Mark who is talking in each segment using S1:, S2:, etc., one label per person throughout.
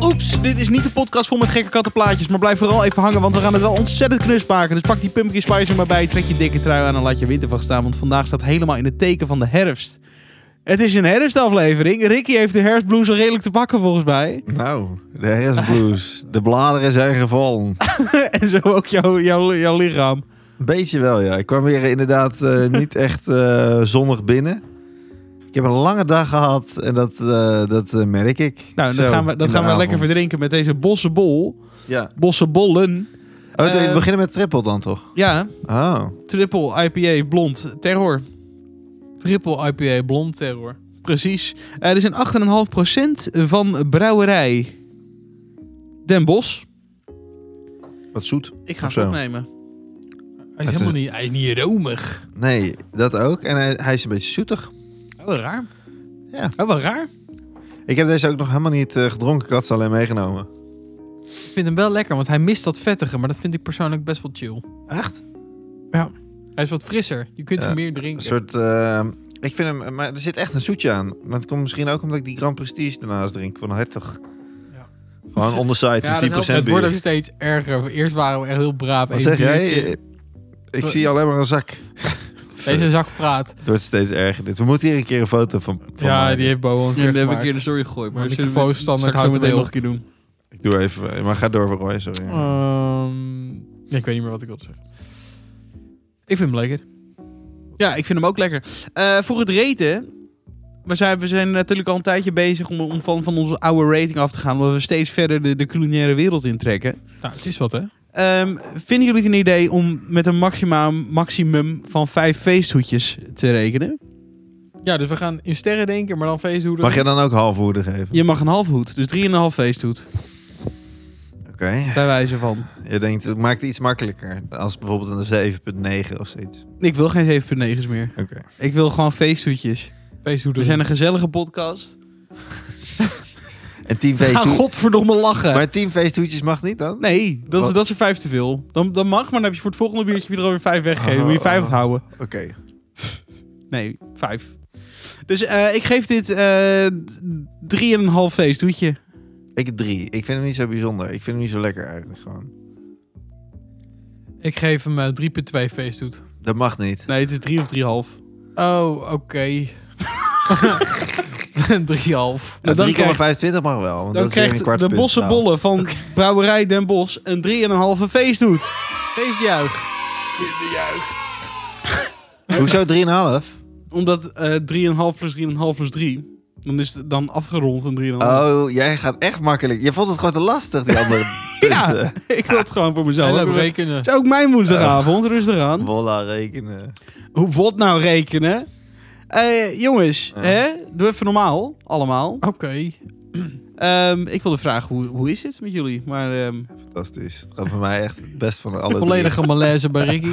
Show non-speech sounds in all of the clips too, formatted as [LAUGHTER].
S1: Oeps, dit is niet de podcast vol met gekke kattenplaatjes. Maar blijf vooral even hangen, want we gaan het wel ontzettend knus maken. Dus pak die pumpkin spice er maar bij, trek je dikke trui aan en laat je winter van staan. Want vandaag staat helemaal in het teken van de herfst. Het is een herfstaflevering. Ricky heeft de herfstblues al redelijk te pakken volgens mij. [LAUGHS]
S2: Nou, de hersenblues. De bladeren zijn
S1: [LAUGHS]
S2: gevallen.
S1: en zo ook jouw, jouw, jouw lichaam.
S2: Een beetje wel, ja. Ik kwam weer inderdaad
S1: [LAUGHS]
S2: eh, niet echt eh, zonnig binnen. Ik heb een lange dag gehad en dat, eh, dat eh, merk ik.
S1: Nou, dat
S2: Zo,
S1: gaan we, dat
S2: in de
S1: gaan we lekker
S2: avond.
S1: verdrinken met deze bossenbol.
S2: Ja.
S1: Bossenbollen.
S2: Oh, nee,
S1: Eh,
S2: we beginnen met triple dan toch?
S1: Ja,
S2: Oh,
S1: triple IPA blond terror.
S3: Triple IPA blond terror.
S1: Precies. Eh, er zijn 8,5% van brouwerij Den Bosch.
S2: wat zoet.
S1: Ik ga
S2: Of
S1: het
S2: zo.
S1: opnemen.
S3: Hij
S2: is-
S3: is helemaal
S2: eh.
S3: niet, hij is niet romig.
S2: Nee, dat ook. En hij, hij is een beetje zoetig.
S3: Oh, wat raar.
S2: Ja.
S3: Oh, wat raar.
S2: Ik heb deze ook nog helemaal niet eh, gedronken. Ik had ze alleen meegenomen.
S3: Ik vind hem wel lekker, want hij mist dat vettige, maar dat vind ik persoonlijk best wel chill.
S2: Echt?
S3: Hij is wat frisser. Je kunt
S2: Ja,
S3: hem meer
S2: Een
S3: drinken.
S2: soort... eh, ik vind hem... Maar er zit echt een zoetje aan. Maar het komt misschien ook omdat ik die Grand Prestige daarnaast drink. Van Hertog.
S3: Ja.
S2: Gewoon onderside
S1: Ja, dat
S2: van 10%
S1: helpt.
S3: het
S2: bier.
S3: wordt ook steeds erger. Eerst waren we echt heel braaf.
S2: Wat
S3: één
S2: zeg
S3: biertje.
S2: jij? Ik zie alleen maar een zak.
S3: Deze zak praat.
S2: Het wordt steeds erger. Dit. We moeten hier een keer een foto van. van
S3: ja,
S2: maken.
S3: die heeft Bo al een keer
S1: Ja, dat heb ik
S3: gemaakt.
S1: hier de story gegooid.
S3: Maar
S1: Maar
S3: de
S1: zullen we
S3: microfoon standaard
S1: straks
S3: houdt
S1: zo meteen
S3: hem
S1: nog een keer doen.
S2: Ik doe even. Maar ga door, Roy. Sorry.
S3: Ehm, ja, ik weet niet meer wat ik wilde zeggen. Ik vind hem lekker.
S1: Ja, ik vind hem ook lekker. Eh, voor het raten. We zijn, we zijn natuurlijk al een tijdje bezig om, om van, van onze oude rating af te gaan. Omdat we steeds verder de, de culinaire wereld intrekken.
S3: Nou, het is wat, hè?
S1: Ehm, vinden jullie het een idee om met een maximum, maximum van vijf feesthoedjes te rekenen?
S3: Ja, dus we gaan in sterren denken, maar dan feesthoeden.
S2: Mag je dan ook halfwoorden geven?
S1: Je mag een half hoed, dus drieënhalf feesthoed.
S2: Oké.
S1: Bij wijze van.
S2: Je denkt, het maakt het iets makkelijker. Als bijvoorbeeld een 7,9 of zoiets.
S1: Ik wil geen 7.9's meer.
S2: Oké.
S1: Ik wil gewoon feesthoedjes.
S3: feesthoeden.
S1: We zijn een gezellige podcast.
S2: En [LAUGHS] 10
S1: Ga
S2: feesthoetjes.
S1: godverdomme lachen.
S2: Maar 10 feesthoetjes mag niet dan?
S1: Nee, dat, is-
S2: Wat?
S1: dat is er vijf te veel. Dan, dan mag, maar dan heb je voor het volgende biertje weer er alweer vijf weggegeven. Moet je vijf
S2: Oh.
S1: onthouden.
S2: Oké.
S1: Nee, vijf. Dus eh, ik geef dit eh, d- drieënhalf feest, doetje.
S2: Ik 3. Ik vind hem niet zo bijzonder. Ik vind hem niet zo lekker eigenlijk gewoon.
S3: Ik geef hem eh, 3.2 feesthoed.
S2: Dat mag niet.
S1: Nee, het is drie of drieënhalf.
S3: Oh, oké. [LAUGHS] Drieënhalf.
S1: Nou, dan
S2: 3,25
S1: krijg-
S2: mag wel.
S1: Dan
S2: Want dat is weer een
S1: krijgt
S2: kwart
S1: de
S2: punt. Nou,
S1: bossenbollen van
S2: [LAUGHS]
S1: Brouwerij Den Bos een drieënhalve feest doet.
S3: Feestjuich.
S2: Hoezo 3,5?
S1: [LAUGHS] Omdat eh 3,5 plus 3,5 plus 3, dan is het dan afgerond een 3,5.
S2: Oh, jij gaat echt makkelijk. Je vond het gewoon te lastig,
S1: [LAUGHS]
S2: die andere punten.
S1: ja, [LAUGHS] ik wil het gewoon voor mezelf.
S3: Helemaal
S1: het
S3: rekenen.
S1: is ook mijn woensdagavond, rustig aan.
S2: Wolla rekenen.
S1: Hoe wordt nou rekenen? Eh, jongens,
S2: Ja.
S1: hè? doe even normaal, allemaal.
S3: Oké.
S1: Ehm, ik wilde vragen, hoe, hoe is het met jullie? Maar ehm
S2: Fantastisch. Het gaat voor mij echt best van alle
S3: Volledige malaise bij Ricky.
S2: drie.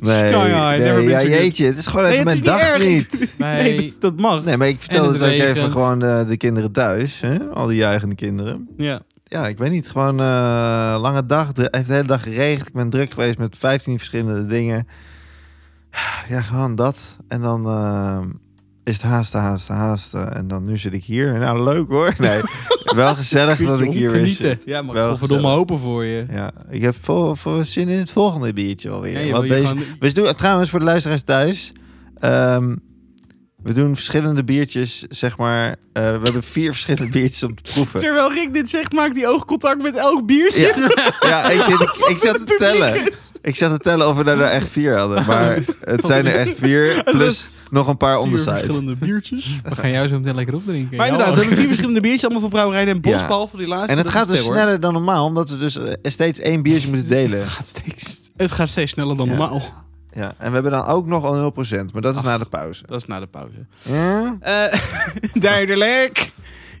S2: Nee,
S1: Sky high,
S2: nee,
S1: never been
S2: ja,
S1: so good.
S2: jeetje. Het is gewoon
S1: Nee,
S2: even
S1: het is
S2: mijn dag
S1: niet
S2: niet.
S1: [LAUGHS] [LAUGHS]
S3: Nee,
S1: nee, dat, dat mag.
S2: Nee, maar ik
S3: En
S2: vertel
S3: het
S2: het ook even
S3: regent.
S2: gewoon eh, de kinderen thuis. Hè? Al die juichende kinderen.
S1: Ja.
S2: Ja, ik weet niet. Gewoon eh, lange dag. Het heeft de hele dag geregend. Ik ben druk geweest met 15 verschillende dingen. Ja, gewoon dat. En dan eh, is het haasten, haasten, haasten. En dan nu zit ik hier. Nou, leuk
S1: [LAUGHS]
S2: hoor. Nee, wel gezellig dat ik hier weer zit.
S3: genieten.
S1: Ja, maar
S2: Wel
S1: ik verdomme
S2: gezellig.
S1: hopen voor je.
S2: Ja, ik heb vol, vol zin in het volgende biertje
S1: Ja,
S2: alweer.
S1: je
S2: Want
S1: wil je
S2: deze-
S1: gewoon-
S2: We doen, trouwens, voor de luisteraars thuis. ehm, we doen verschillende biertjes, zeg maar. Eh, we hebben vier [LAUGHS] verschillende biertjes om te proeven.
S1: Terwijl Rick dit zegt, maakt hij oogcontact met elk biertje.
S2: Ja, ja ik, zit, ik, ik zat te
S1: publiek
S2: tellen. Ik zat te tellen of we daar nou echt vier hadden. Maar het zijn er echt
S1: [LAUGHS]
S2: vier. Plus nog een paar
S1: Vier
S2: ondersides.
S1: verschillende biertjes.
S3: we gaan jou zo meteen lekker opdrinken.
S1: Maar inderdaad, we hebben vier verschillende biertjes, allemaal van Brouwerij Den Bos,
S2: Ja.
S1: behalve voor die laatste.
S2: En het
S1: dat
S2: gaat
S1: is
S2: dus
S1: Terror.
S2: sneller dan normaal, omdat we dus eh, steeds één biertje
S1: [LAUGHS]
S2: moeten delen.
S3: Het gaat steeds.
S1: Het gaat steeds sneller dan
S2: Ja.
S1: normaal.
S2: Ja. En we hebben dan ook nog al 0%, maar dat is na de pauze.
S1: Dat is na de pauze.
S2: Ja?
S1: Eh, [LAUGHS] duidelijk.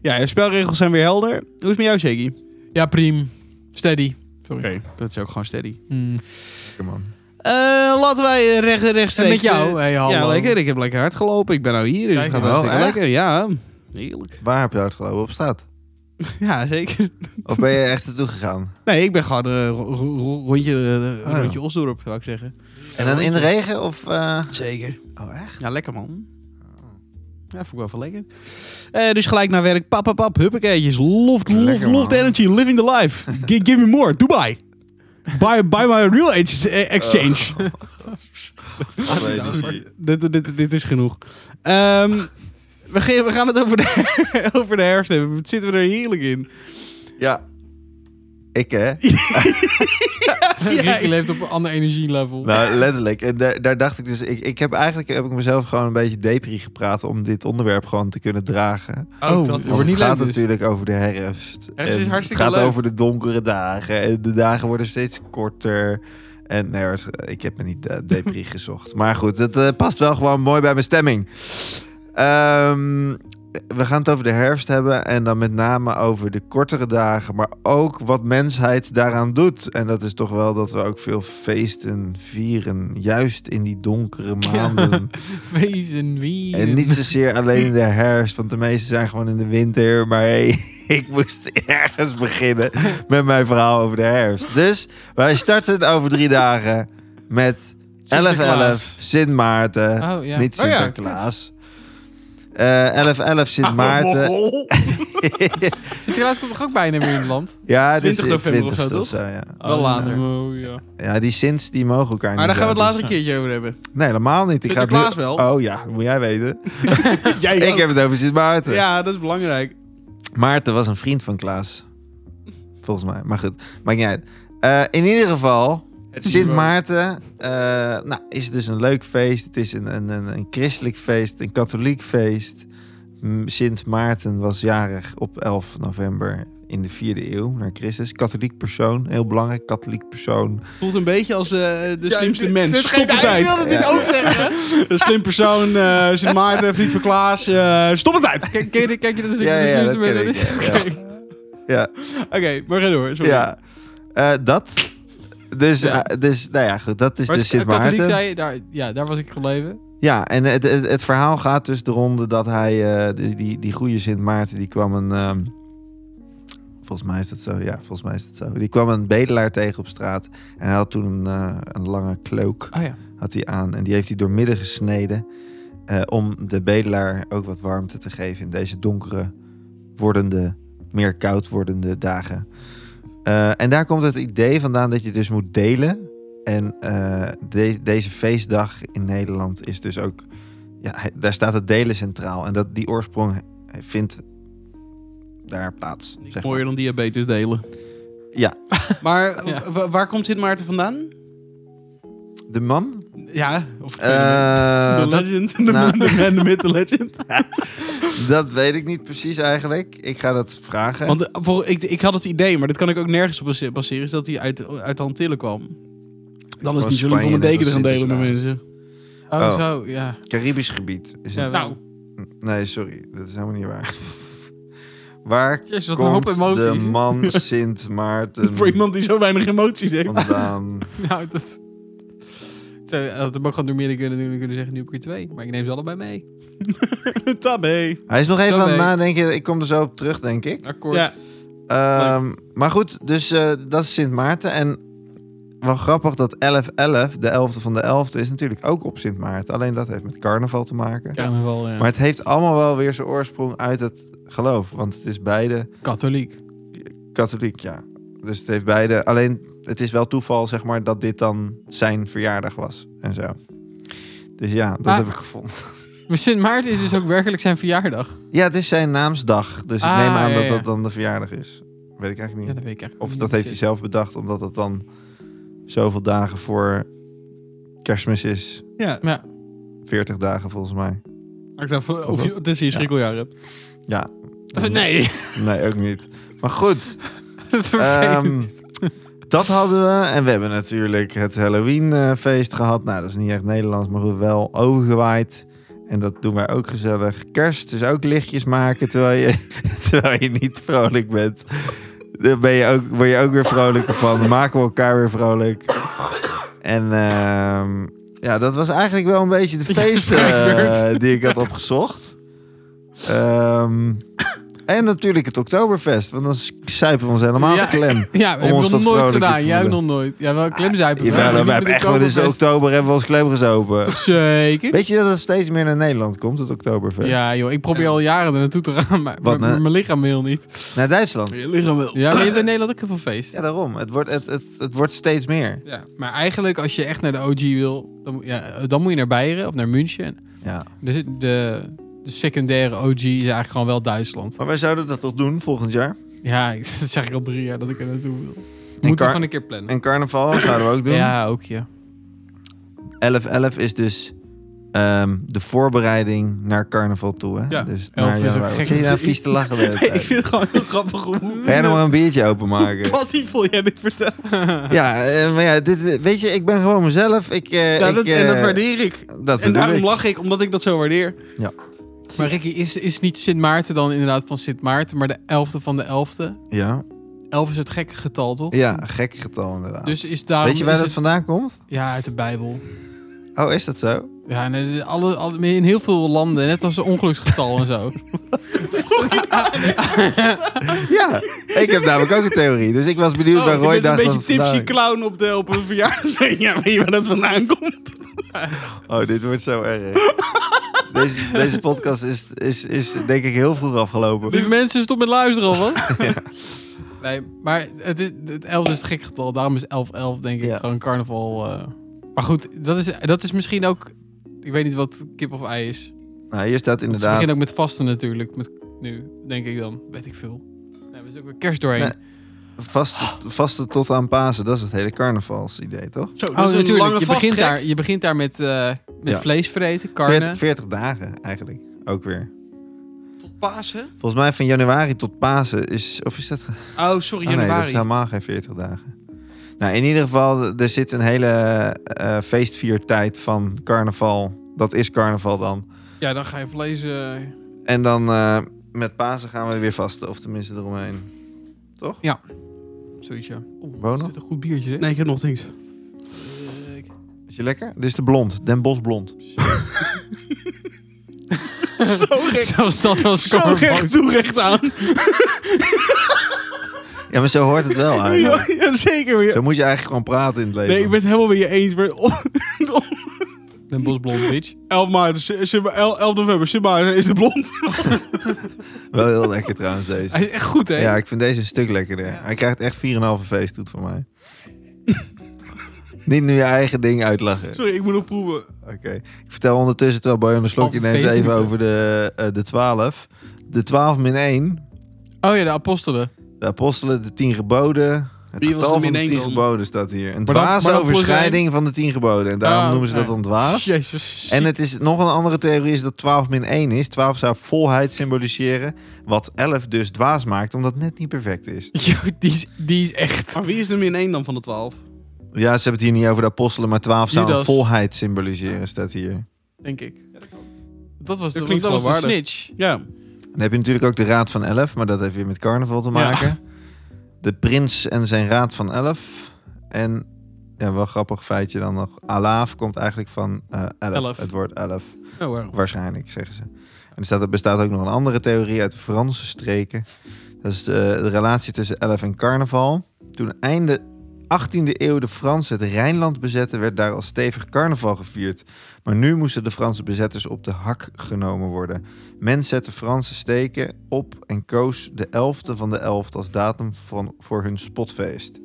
S1: Ja, je spelregels zijn weer helder. Hoe is het met jou, Shaky? Oké,
S3: Ja, priem. Steady. Sorry.
S1: dat is ook gewoon steady.
S3: Mm.
S2: Lekker, man.
S1: Eh, laten wij eh, recht,
S3: En
S1: rechtstreeks...
S3: met jou?
S1: eh,
S3: Hey, hallo.
S1: ja, lekker. Ik heb lekker hard gelopen. Ik ben nou hier, dus het gaat
S3: Kijk,
S2: oh,
S1: hartstikke
S2: echt?
S1: lekker. Ja, heerlijk.
S2: Waar heb je hard gelopen? Op staat?
S1: Ja, zeker.
S2: Of ben je echt naartoe gegaan?
S1: Nee, ik ben gewoon eh, ro- ro- ro- rondje, eh,
S2: Ah, ja.
S1: rondje Osdorp, zou ik zeggen.
S2: En dan in de regen of... eh,
S1: Zeker.
S2: Oh, echt?
S1: Ja, lekker man. Ja, vond ik wel veel lekker. Eh, dus gelijk naar werk. Pap, pap, pap. Huppakeetjes. Loft, loft,
S2: Lekker,
S1: loft
S2: man.
S1: energy. Living the
S2: [LAUGHS]
S1: life. Gi- give me more. Dubai. Buy, buy my real age eh, exchange.
S2: Allee,
S3: nou,
S2: Oh, die-
S1: [LAUGHS]
S3: sorry.
S1: dit, dit, dit is genoeg. Ehm, we, ge- we gaan het over de, [LAUGHS] over de herfst hebben. Wat zitten we er heerlijk in?
S2: Ja. Ik hè?
S3: [LAUGHS] Ricky leeft op een ander energielevel.
S2: Nou, letterlijk. En daar, daar dacht ik dus... Ik, ik heb eigenlijk heb ik mezelf gewoon een beetje depri gepraat... om dit onderwerp gewoon te kunnen dragen.
S3: Oh, dat
S2: Want
S3: wordt
S2: het
S3: niet leuk
S2: gaat
S3: dus.
S2: natuurlijk over de herfst.
S3: Het is
S2: En
S3: hartstikke
S2: Het gaat
S3: leuk.
S2: over de donkere dagen. En de dagen worden steeds korter. En nee, hoor, ik heb me niet
S3: [LAUGHS]
S2: eh, depri gezocht. Maar goed, het eh, past wel gewoon mooi bij mijn stemming. Ehm, we gaan het over de herfst hebben. En dan met name over de kortere dagen. Maar ook wat mensheid daaraan doet. En dat is toch wel dat we ook veel feesten vieren. Juist in die
S3: [LAUGHS]
S2: donkere maanden.
S3: Wees en wie.
S2: En niet zozeer alleen in de herfst, want de meeste zijn gewoon in de winter. Maar hey, [LAUGHS] ik moest ergens beginnen met mijn verhaal over de herfst. Dus wij starten over drie dagen met 11-11
S3: Sinterklaas.
S2: Sint Maarten.
S3: Oh, ja.
S2: Niet
S1: Oh ja, Ah,
S2: Sinterklaas. Eh, 11-11 Sint
S1: oh,
S2: Maarten.
S3: Sinterklaas komt toch ook bijna weer in het land?
S2: ja, dit is
S1: 20 november of zo,
S2: 20ste ja.
S1: [LAUGHS] Wel later.
S3: Oh, ja.
S2: ja, die Sints die mogen
S1: [LAUGHS]
S2: elkaar
S1: Maar
S2: niet.
S1: daar gaan we het
S2: uit,
S1: later een keertje over hebben.
S2: dus- Nee, helemaal niet. Ik ga het nu-
S1: Sinterklaas wel. oh.
S2: Oh ja, moet jij weten.
S1: Jij
S2: Ik
S1: ook.
S2: heb het over Sint Maarten.
S1: Ja, dat is belangrijk.
S2: Maarten was een vriend van Klaas. Volgens mij. Maar goed, maakt niet uit. Eh, in ieder geval, Sint Maarten eh, nou, is dus een leuk feest. Het is een, een, een, een christelijk feest, een katholiek feest. M, Sint Maarten was jarig op 11 november in de 4e eeuw na Christus. Katholiek persoon, heel belangrijk, katholiek persoon.
S1: Voelt een beetje als eh, de
S3: Ja,
S1: slimste
S3: dit-
S1: mens.
S3: dit-
S1: Stop
S3: dit-
S1: het
S3: Ik
S1: uit.
S3: wilde dit
S2: Ja.
S3: ook zeggen.
S1: Een slim persoon. eh, [LAUGHS] Sint Maarten, vriend van Klaas. eh, stop het uit.
S3: Kijk, kijk, je, kijk je dat is
S2: Ja, ja, ja, dat ken ik,
S3: Oké,
S2: ja.
S3: [LAUGHS]
S2: Ja,
S1: Oké, maar ga door. Sorry.
S2: ja. Eh, dat. Dus,
S3: Ja.
S2: eh, dus, nou ja, goed, dat is
S3: Maar
S2: dus Sint
S3: katholiek
S2: Maarten.
S3: zei je, daar, ja, daar was ik gebleven.
S2: Ja, en het, het, het verhaal gaat dus de ronde dat hij, eh, die, die, die goede Sint Maarten, die kwam een. ehm, volgens mij is dat zo, ja, volgens mij is dat zo. Die kwam een bedelaar tegen op straat. En hij had toen een, eh, een lange cloak
S3: Ah ja.
S2: had hij aan. En die heeft hij doormidden gesneden. eh, om de bedelaar ook wat warmte te geven in deze donkere, wordende, meer koud wordende dagen. Eh, en daar komt het idee vandaan dat je dus moet delen. En eh, de- deze feestdag in Nederland is dus ook. Ja, hij- daar staat het delen centraal. En dat, die oorsprong eh, vindt daar plaats.
S1: Niks
S2: zeg maar.
S1: mooier dan diabetes delen.
S2: Ja.
S1: [LAUGHS] Maar
S3: Ja.
S1: wa- waar komt Sint Maarten vandaan?
S2: De man?
S1: Ja, of
S2: Eh,
S1: de
S2: dat-
S1: legend. De
S2: [LAUGHS] nou.
S1: man, [LAUGHS] de man, de myth, de legend.
S2: dat weet ik niet precies eigenlijk. Ik ga dat vragen.
S1: Want eh, voor, ik, ik had het idee, maar dat kan ik ook nergens op base- baseren, is dat hij uit, uit de Antillen kwam. Dan is het
S2: Was
S1: niet zo lief om
S2: Spanje
S1: een
S2: net
S1: deken te
S2: als
S1: gaan delen met
S2: Sinterklaas?
S1: mensen.
S3: Oh,
S2: Oh.
S3: zo, ja.
S2: Caribisch gebied. Is
S3: ja
S2: het-
S3: nou,
S2: Nee, sorry. Dat is helemaal niet waar. [LAUGHS] Waar
S3: jezus, wat een hoop
S2: komt de
S3: emoties.
S2: man
S1: [LAUGHS]
S2: Sint
S1: Voor
S2: Maarten
S1: iemand die zo weinig emoties heeft. [LAUGHS]
S2: vandaan?
S3: [LAUGHS] nou, dat... Zo, dat had hem ook gewoon door midden kunnen doen en kunnen zeggen, nu op keer twee. Maar ik neem ze allebei mee.
S1: Tabé.
S2: Hij is nog even
S3: Dan
S2: aan het
S3: nee.
S2: nadenken. Ik kom er zo op terug, denk ik.
S3: Akkoord.
S1: Ja.
S2: Ehm, maar goed, dus eh, dat is Sint Maarten. En wel grappig dat 11-11, de 11e van de 11e, is natuurlijk ook op Sint Maarten. Alleen dat heeft met carnaval te maken.
S3: Ja, maar wel, ja.
S2: Maar het heeft allemaal wel weer zijn oorsprong uit het geloof. Want het is beide
S3: Katholiek.
S2: Katholiek, ja. Dus het heeft beide. Alleen het is wel toeval, zeg maar, dat dit dan zijn verjaardag was en zo. Dus ja, dat
S3: Maar-
S2: heb ik gevonden.
S3: Maar Sint Maarten is dus ook werkelijk zijn verjaardag.
S2: Ja, het is zijn naamsdag. Dus ik
S3: Ah,
S2: neem aan
S3: ja,
S2: dat
S3: ja.
S2: dat dan de verjaardag is. Weet ik eigenlijk
S3: Ja,
S2: niet.
S3: dat weet ik eigenlijk
S2: of
S3: niet
S2: dat heeft hij
S3: precies.
S2: zelf bedacht, omdat dat dan zoveel dagen voor kerstmis is.
S1: Ja,
S2: 40 dagen volgens mij.
S1: maakt daar voor- of je, het is hier schrikkeljaar hebt.
S2: Ja.
S3: [LAUGHS] Nee, [LAUGHS]
S2: Nee, ook niet. Maar goed.
S3: vervelend.
S2: Ehm, dat hadden we. En we hebben natuurlijk het Halloween-feest gehad. Nou, dat is niet echt Nederlands, maar goed, wel overgewaaid. En dat doen wij ook gezellig. Kerst is ook lichtjes maken terwijl je, [LAUGHS] terwijl je niet vrolijk bent. Daar ben je ook, word je ook weer vrolijker van. Dan maken we elkaar weer vrolijk. En ehm, ja, dat was eigenlijk wel een beetje de
S3: Ja,
S2: feesten
S3: Blackbird.
S2: eh, die ik had opgezocht. Ehm, En natuurlijk het Oktoberfest, want dan zuipen we ons helemaal
S3: Ja.
S2: de klem.
S3: Ja, we hebben
S2: ons
S3: we
S2: wat
S3: nog nooit
S2: vrolijker te
S3: gedaan. Jij ook nog
S2: voelen.
S3: nooit. Ja, wel klemzuipen.
S2: Ja, nou,
S3: wel.
S2: we
S3: Niet met
S2: hebben
S3: een
S2: echt wel eens in
S3: kogelfest.
S2: oktober hebben we ons
S1: [LAUGHS]
S2: klem gezopen.
S3: Zeker.
S2: Weet je dat het steeds meer naar Nederland komt, het Oktoberfest?
S3: Ja, joh. Ik probeer al jaren er naartoe te gaan, maar
S2: Wat,
S3: maar- maar
S2: nou?
S3: mijn lichaam wil niet.
S2: Naar Duitsland.
S1: Je lichaam wel.
S3: Ja, maar je hebt in Nederland ook heel veel feest.
S2: Ja, daarom. Het wordt, het, het, het wordt steeds meer.
S3: Ja, maar eigenlijk als je echt naar de OG wil, dan, moet- ja, dan moet je naar Beieren of naar München.
S2: Ja.
S3: Dus de, de secundaire OG is eigenlijk gewoon wel Duitsland.
S2: Maar wij zouden dat toch doen volgend jaar?
S3: Ja, [LAUGHS] ik- dat zeg ik al drie jaar dat ik er naartoe wil. Moeten
S2: En,
S3: we
S2: car-
S3: gewoon een keer plannen.
S2: en carnaval zouden we ook doen.
S3: Ja, ook ja.
S2: 11-11 is dus ehm, de voorbereiding naar carnaval toe. Hè?
S3: Ja,
S2: Dus
S3: 11
S2: naar
S3: is
S2: januari.
S3: ook gek.
S2: Wat zit je nou vies te
S1: [LAUGHS]
S2: lachen? de hele
S1: [LAUGHS] Ik
S2: tijd?
S1: vind het gewoon heel grappig hoe
S2: Ga jij nou maar een biertje openmaken?
S1: passievol jij dit vertelt.
S2: Ja, eh, maar ja, dit, eh, weet je, ik ben gewoon mezelf. Ik, eh,
S1: Ja,
S2: ik,
S1: Nou, dat, en
S2: eh,
S1: dat waardeer ik.
S2: Dat
S1: En
S2: bedoel
S1: daarom
S2: ik.
S1: lach ik, omdat ik dat zo waardeer.
S3: Maar Ricky, is, is niet Sint Maarten dan inderdaad van Sint Maarten, maar de elfde van de elfde?
S2: Ja,
S3: Elf is het gekke getal, toch?
S2: ja, gek getal inderdaad.
S3: Dus is daarom...
S2: weet je waar
S3: is
S2: dat
S3: het-
S2: vandaan komt?
S3: Ja, uit de Bijbel.
S2: Oh, is dat zo?
S3: Ja, en alle, alle, in heel veel landen, net als een ongeluksgetal en zo.
S2: Ja, ik heb namelijk ook een theorie. Dus ik was benieuwd
S1: Oh,
S2: waar Roy
S1: je bent
S2: dacht
S1: een beetje
S2: dat
S1: tipsy
S2: het vandaan-
S1: clown op, de, op een verjaardagsfeest. [LAUGHS] Ja, weet je waar dat vandaan komt?
S2: Oh, dit wordt zo erg. Deze, deze podcast is, is, is denk ik heel vroeg afgelopen.
S3: Lieve mensen, stop met luisteren alvast. Nee, maar het, is, het 11 is het gek getal. Daarom is 11-11 denk ik
S2: Ja.
S3: gewoon carnaval. eh. Maar goed, dat is, dat is misschien ook... Ik weet niet wat kip of ei is.
S2: Nou, hier staat
S3: Ze beginnen
S2: inderdaad...
S3: ook met vasten natuurlijk. Met, nu, denk ik dan. Weet ik veel. Nee, we is ook weer kerst doorheen. Oh,
S2: Nee, Vaste, vaste tot aan Pasen, dat is het hele carnavalsidee, toch?
S1: Zo, dat
S3: Oh,
S1: is een lange
S3: natuurlijk. Je begint,
S1: vastgek.
S3: daar, je begint daar met, eh met
S2: Ja.
S3: vlees vreten, karnen.
S2: 40, 40 dagen eigenlijk, ook weer.
S1: Tot Pasen?
S2: Volgens mij van januari tot Pasen is... Of is dat... Oh,
S1: Oh, sorry,
S2: nee, dat
S1: januari.
S2: is helemaal geen 40 dagen. Nou, in ieder geval, er zit een hele eh, feestviertijd van carnaval. Dat is carnaval dan.
S3: Ja, dan ga je vlees... eh,
S2: En dan eh, met Pasen gaan we weer vasten, of tenminste eromheen.
S3: zoiets, ja. Oeh,
S2: Wonen?
S3: is dit een goed biertje, hè?
S1: Nee, ik heb nog niks.
S3: Eh, ik-
S2: Is je lekker? Dit is de blond, Den Bos blond.
S1: Zo gek.
S3: [LAUGHS] Zelfs dat was
S1: Zo recht toe, recht aan.
S2: Ja, maar zo hoort het wel eigenlijk.
S1: [LAUGHS] Ja, zeker weer.
S2: Ah, Zo moet je eigenlijk gewoon praten in het leven.
S1: Nee, ik ben het helemaal met je eens. Maar
S3: Een bosblond bitch.
S1: 11, maart, is- is- is- 11 november, Sint Maarten is de blond. [LAUGHS]
S2: Wel heel lekker trouwens deze.
S3: Hij is echt goed, hè?
S2: Ja, ik vind deze een stuk lekkerder.
S3: Ja.
S2: Hij krijgt echt 4,5 feesttoet van mij. [LAUGHS] Niet nu je eigen ding uitlachen. Oké.
S1: Sorry, ik moet nog proeven.
S2: Ik vertel ondertussen, terwijl Bojan een slokje
S3: Halve
S2: neemt, even
S3: feesttoeten.
S2: over de, eh, de 12. De 12 min 1.
S3: Oh ja, de apostelen.
S2: De apostelen, de 10 geboden. Het
S1: Wie was
S2: getal
S1: de min
S2: van de
S1: één
S2: 10
S1: dan?
S2: geboden staat hier. Een
S3: Maar dan-
S2: dwaze
S3: maar dan plus
S2: overschrijding van de 10 geboden. En daarom
S3: Oh,
S2: noemen ze dat
S3: ja.
S2: dan dwaas.
S3: Jezus.
S2: Ah.
S3: [LAUGHS]
S2: En het is nog een andere theorie is dat 12 min 1 is. 12 zou volheid symboliseren. Wat 11 dus dwaas maakt, omdat het net niet perfect is.
S3: Yo, die, is, die is echt...
S1: Maar wie is de min 1 dan van de 12?
S2: Ja, ze hebben het hier niet over de apostelen, maar 12 zou een
S3: Judas.
S2: volheid symboliseren, staat hier.
S3: Denk ik. Dat was de,
S1: Dat klinkt
S3: dat was de
S1: geloofwaardig.
S3: snitch.
S1: Ja.
S2: Dan heb je natuurlijk ook de Raad van 11, maar dat heeft weer met carnaval te maken. De prins en zijn Raad van 11. En ja, wel grappig feitje dan nog. Alaaf komt eigenlijk van eh 11,
S3: Elf.
S2: het woord 11.
S1: Oh, waarom?
S2: Waarschijnlijk, zeggen ze. En er, staat, er bestaat ook nog een andere theorie uit de Franse streken. Dat is de, de relatie tussen 11 en carnaval. Toen einde 18e eeuw de Fransen het Rijnland bezetten, werd daar al stevig carnaval gevierd. Maar nu moesten de Franse bezetters op de hak genomen worden. Men zette Franse steken op en koos de 11e van de 11e als datum van, voor hun spotfeest.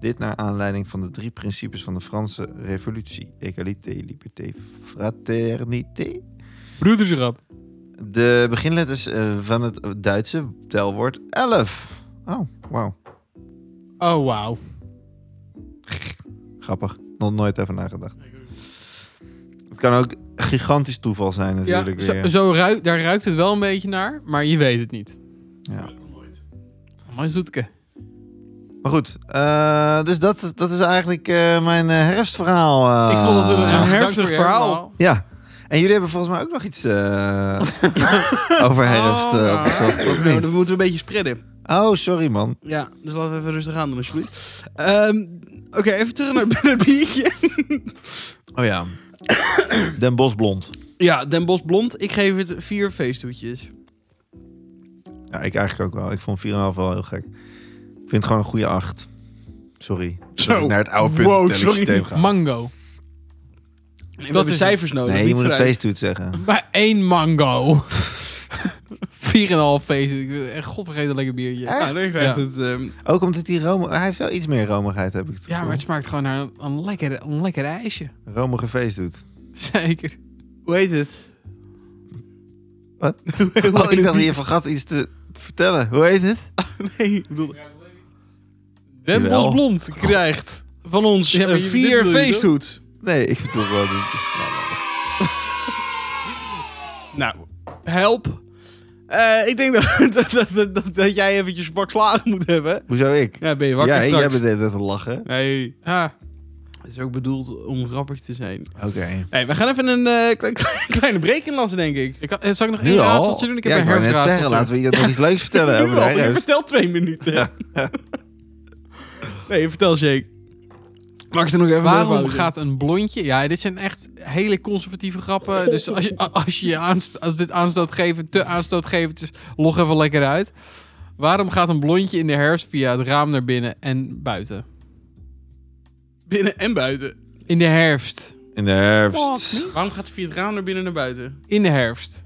S2: Dit naar aanleiding van de drie principes van de Franse Revolutie: Egalité, Liberté, Fraternité.
S3: Broederschap.
S2: De beginletters eh, van het Duitse telwoord 11. Oh, wauw.
S3: Oh, wauw.
S2: Grappig. Nog nooit over nagedacht. Het kan ook gigantisch toeval zijn natuurlijk
S3: Ja, zo,
S2: weer.
S3: zo ruikt, daar ruikt het wel een beetje naar, maar je weet het niet.
S2: Ja.
S3: Maar zoetke.
S2: Maar goed, eh, dus dat, dat is eigenlijk eh, mijn eh, herfstverhaal. eh.
S1: Ik vond het een- een her-
S3: Dank voor je
S1: verhaal.
S2: Ja. En jullie hebben volgens mij ook nog iets eh, over herfst
S3: Oh,
S2: eh, opgezocht,
S1: Nou,
S2: of niet?
S1: dat moeten we een beetje spreiden.
S2: Oh, sorry man.
S1: Ja, dus laten we even rustig aan doen, alsjeblieft. Ehm, Oké, even terug naar [LAUGHS] het biertje.
S2: Oh ja. Den Bos blond.
S1: Ja, Den Bos Blond. Ik geef het vier feesthoedjes.
S2: Ja, ik eigenlijk ook wel. Ik vond 4,5 wel heel gek. Ik vind het gewoon een goede 8. Sorry.
S1: Zo.
S2: Dat ik Naar het oude
S1: Wow,
S2: puntentellingssysteem
S1: sorry.
S2: gaan. [LAUGHS]
S3: Mango.
S1: we hebben
S3: is-
S1: cijfers nodig.
S2: Nee, je
S1: niet
S2: moet een
S1: fruit.
S2: feesttoet zeggen.
S3: Bij één mango. 4,5 feest. Ik wil echt godvergeten een lekker biertje.
S2: Echt?
S1: Ja, dan krijgt
S3: Ja.
S1: het... ehm,
S2: Ook omdat hij romen... Hij heeft wel iets meer romigheid, heb ik het
S3: Ja, maar
S2: gevoel.
S3: het smaakt gewoon naar een, een lekker, een lekker ijsje. [LAUGHS]
S2: Romige
S1: [LAUGHS]
S2: feestdoet.
S3: Zeker.
S1: hoe heet het?
S2: Wat?
S1: Hoe heet
S2: Oh, ik
S1: het?
S2: dacht, je vergat iets te vertellen. Hoe heet het?
S1: [LAUGHS] Nee, ik bedoel...
S3: Den
S2: Jawel.
S3: Bosch Blond krijgt.
S1: Van ons
S3: Ja, maar
S1: eh,
S3: je- dit
S1: vier
S3: bedoel je toch?
S1: feesthoed.
S2: Nee, ik bedoel wel niet.
S1: Nou, help. Eh, ik denk dat, [LAUGHS] dat, dat, dat, dat jij eventjes een bak slagen moet hebben.
S2: Hoezo ik?
S1: Ja, ben je wakker
S2: Ja, jij
S1: straks?
S2: bent de hele tijd te lachen.
S1: Nee,
S3: Ja.
S1: het is ook bedoeld om grappig te zijn.
S2: Oké.
S1: Nee, we gaan even een eh, kle- kle- [LAUGHS] kleine break inlassen, denk ik.
S3: Ik, kan- eh, zal ik nog
S2: Nu
S3: één
S2: al?
S3: raadseltje doen? Ik heb
S2: ja,
S3: een
S2: wou net zeggen,
S3: herfstraadseltje.
S2: laten we je nog iets leuks vertellen
S1: [LAUGHS] nu
S2: over de
S1: al, je
S2: herfst.
S1: vertelt twee minuten. [LAUGHS] Nee, vertel Jake. Mag ik er nog even
S3: Waarom gaat een blondje... Ja, dit zijn echt hele conservatieve
S2: [LAUGHS]
S3: grappen. Dus als, je, als, je je aanst, als dit aanstootgevend, te aanstootgevend is, log even lekker uit. Waarom gaat een blondje in de herfst via het raam naar binnen en buiten?
S1: binnen en buiten?
S3: In de herfst.
S2: In de herfst.
S1: Waarom gaat via het raam naar binnen en naar buiten?
S3: In de herfst.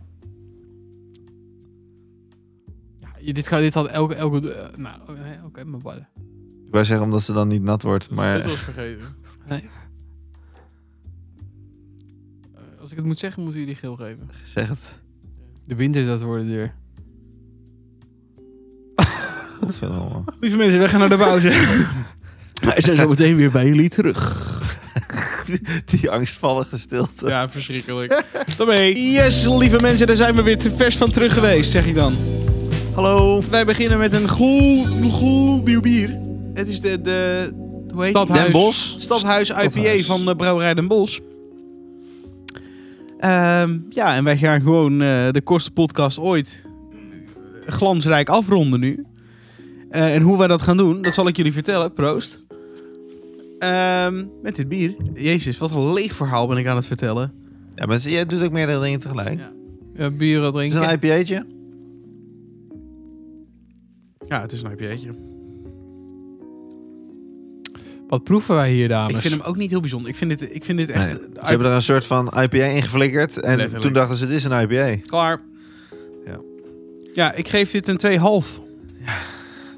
S3: Ja, je- dit, kan, dit had elke... elke eh, nou, oh, nee, oké, mijn ballen.
S2: Ik wou zeggen omdat ze dan niet nat wordt, maar...
S1: Dit was vergeten.
S3: Eh, Als ik het moet zeggen, moeten jullie geel geven.
S2: Zeg het.
S3: De winter is dat worden duur.
S2: Godverdomme.
S1: [LAUGHS] Lieve mensen, we gaan naar de
S2: [LAUGHS]
S1: pauze. Wij zijn zo meteen weer bij jullie terug.
S2: [LAUGHS] Die angstvallige stilte.
S1: Ja, verschrikkelijk. [LAUGHS] Daarmee. Yes, lieve mensen, daar zijn we weer te vers van terug geweest, zeg ik dan.
S2: Hallo.
S1: Wij beginnen met een goed, goed nieuw bier. Het is de, de hoe heet
S3: Stadhuis.
S1: die?
S3: Den
S2: Bosch.
S1: Stadhuis IPA
S2: Stadhuis.
S1: van de Brouwerij Den Bosch. Ehm, ja, en wij gaan gewoon eh, de kortste podcast ooit eh, glansrijk afronden nu. Eh, en hoe wij dat gaan doen, dat zal ik jullie vertellen. Proost. Ehm, met dit bier. Jezus, wat een leeg verhaal ben ik aan het vertellen.
S2: Ja, maar zie, jij doet ook meerdere dingen tegelijk.
S1: Ja.
S3: Ja, buren
S2: Is
S3: drinken.
S2: het een IPA'tje?
S1: Ja, het is een IPA'tje.
S3: Wat proeven wij hier, dames?
S1: Ik vind hem ook niet heel bijzonder. Ik vind dit, ik vind dit
S2: dus- Nee,
S1: echt... eh,
S2: Ze hebben er een soort van IPA ingeflikkerd en
S1: Letterlijk.
S2: toen dachten ze, dit is een IPA.
S1: Klaar.
S2: Ja.
S1: Ja, ik geef dit een 2,5.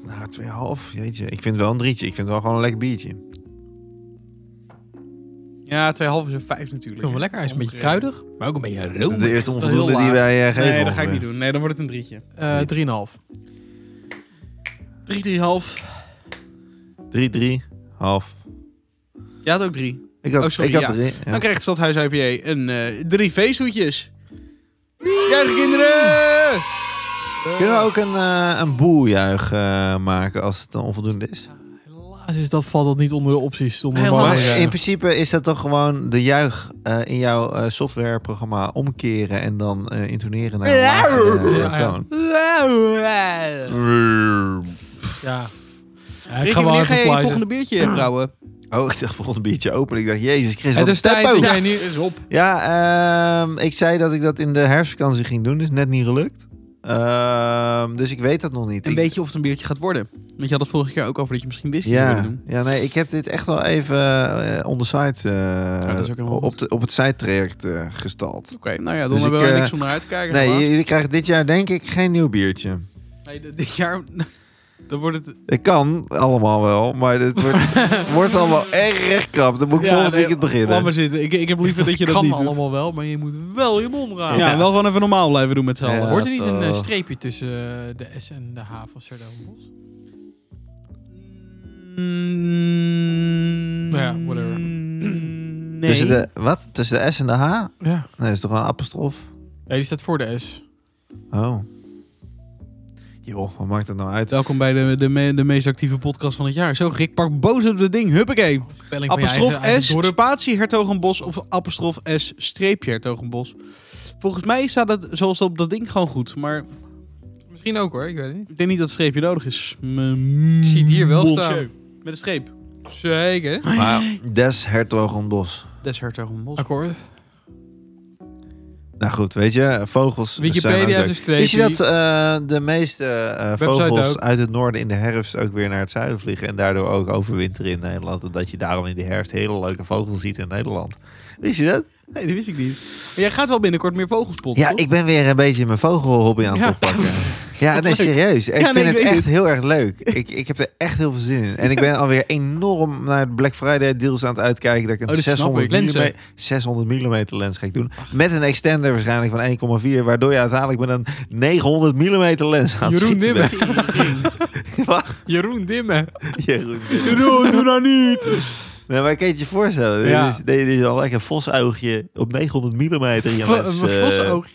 S2: Nou, 2,5. Jeetje. Ik vind het wel een drietje. Ik vind het wel gewoon een lekker
S1: Oh.
S2: biertje.
S1: Ja, 2,5 is een 5 natuurlijk.
S3: Vind hem wel lekker. Hij is een beetje kruidig, maar ook een beetje
S2: Dat is de eerste
S1: is
S2: onvoldoende
S1: heel
S2: die
S1: laag.
S2: wij eh, geven.
S1: Nee, dat ga ik
S2: ongeveer.
S1: niet doen. Nee, dan wordt het een drietje.
S3: Eh 3,5.
S1: 3,3,5.
S2: Drie, drie, half.
S1: Jij had ook 3.
S2: Ik had,
S1: Oh, sorry,
S2: ik had
S1: ja.
S2: drie. ja.
S1: Dan krijgt het Stadhuis IPA een eh drie feesthoedjes. Juichen kinderen!
S2: Kunnen we ook een, eh een boejuich eh, maken als het dan onvoldoende is?
S3: Helaas is dat, valt dat niet onder de opties. Onder de
S1: Helaas.
S2: Maar
S3: mogelijkheden.
S2: in principe is dat toch gewoon de juich eh, in jouw eh, softwareprogramma omkeren en dan eh, intoneren naar een lagere, eh,
S3: Ja, ja.
S2: toon.
S3: ja. Ja, ik
S1: Ricky,
S3: ga wel
S1: wanneer
S3: even
S1: ga je je
S3: plaatsen.
S1: volgende biertje brouwen?
S2: Oh, ik dacht volgend een biertje open. Ik dacht, jezus Chris,
S3: Het
S2: wat
S3: is
S2: een
S3: tijd
S2: tempo.
S3: dat
S2: Ja,
S3: jij nu... Is op.
S2: ehm, ik zei dat ik dat in de herfstvakantie ging doen. is net niet gelukt. Ehm, dus ik weet dat nog niet.
S1: En
S2: Ik-
S1: weet je of het een biertje gaat worden? Want je had het vorige keer ook over dat je misschien whisky wilde
S2: Ja,
S1: doen.
S2: ja, nee, ik heb dit echt wel even eh, on the side, eh,
S1: dat is ook helemaal
S2: op, de, op het zijtraject eh gestald.
S1: Oké, nou ja, dan
S2: Dus
S1: hebben
S2: ik,
S1: we
S2: eh,
S1: niks om naar uit te kijken.
S2: Nee,
S1: helaas.
S2: jullie krijgen dit jaar denk ik geen nieuw biertje.
S1: Nee, dit- dit jaar... [LAUGHS] Dan wordt het...
S2: Het kan allemaal wel, maar het
S1: [LAUGHS]
S2: wordt, wordt allemaal erg krap. Dan moet ik
S1: Ja,
S2: volgend
S1: nee,
S2: weekend
S1: Laat maar
S2: beginnen.
S1: zitten. Ik, ik heb liever dat, je dat
S3: kan
S1: niet doet.
S3: allemaal wel, maar je moet wel je mond raken.
S1: Ja, wel gewoon even normaal blijven doen met z'n allen.
S2: Ja.
S3: Wordt er niet een eh,
S2: toch.
S3: streepje tussen eh, de S en de H van Serdogenbos? Nou ja, [CLEARS THROAT] whatever.
S1: Nee.
S2: Tussen Dus de, wat? Tussen de S en de H?
S3: Ja.
S2: Nee, dat is toch wel een apostrof?
S3: Nee, die staat voor de S.
S2: Oh. Joh, wat maakt dat nou uit?
S1: Welkom bij de, de, me- de meest actieve podcast van het jaar. Zo, Rick, pak boos op het ding. Huppakee.
S3: Spelling van je
S1: Apostrof
S3: eigen- eigen
S1: S,
S3: dorp.
S1: spatie Hertogenbos of apostrof S, streepje Hertogenbos. Volgens mij staat het zoals op dat ding gewoon goed. Maar
S3: Misschien ook hoor, ik weet het niet.
S1: ik denk niet dat het streepje nodig is.
S3: Ik zie
S1: Ziet
S3: het hier wel staan.
S1: Met een streep.
S3: Zeker.
S1: Ah,
S2: Maar des hertogenbos.
S1: Dat is Hertogenbos.
S3: Akkoord.
S2: Nou goed, weet je, vogels zijn
S3: Wikipedia
S2: ook
S3: is een
S1: dus
S2: leuk.
S3: streepje.
S2: Wist je dat eh, de meeste eh,
S3: Website
S2: vogels
S3: ook.
S2: uit het noorden in de herfst ook weer naar het zuiden vliegen en daardoor ook overwinteren in Nederland? En dat je daarom in de herfst hele leuke vogels ziet in Nederland. Wist je dat?
S1: Nee, dat wist ik niet. Maar jij gaat wel binnenkort meer vogels spotten,
S2: Ja,
S1: toch?
S2: ik ben weer een beetje mijn vogelhobby aan het
S3: Ja. [LAUGHS]
S2: oppakken. Ja, nee,
S1: leuk.
S2: serieus. Ik
S1: Ja, nee, ik
S2: vind het
S1: weet
S2: echt
S1: het.
S2: heel erg leuk. Ik, ik heb er echt heel veel zin in. En ik ben alweer enorm naar de Black Friday deals aan het uitkijken. Dat ik een
S1: Oh, dat snap
S2: 600,
S1: ik.
S3: Lenzen.
S2: mm, 600 mm lens ga ik doen. Met een extender waarschijnlijk van 1,4. Waardoor je uiteindelijk met een 900 mm lens aan het
S3: Jeroen
S2: schieten
S3: Dimmen.
S2: bent. Wacht,
S3: Jeroen
S1: [LAUGHS]
S3: Dimmen.
S2: [LAUGHS] Jeroen.
S3: Jeroen, doe nou niet.
S2: Nee, maar ik kan je het je voorstellen.
S3: Ja.
S2: Dit, is, dit is al lekker een vosoogje op 900 mm.
S3: Vo- een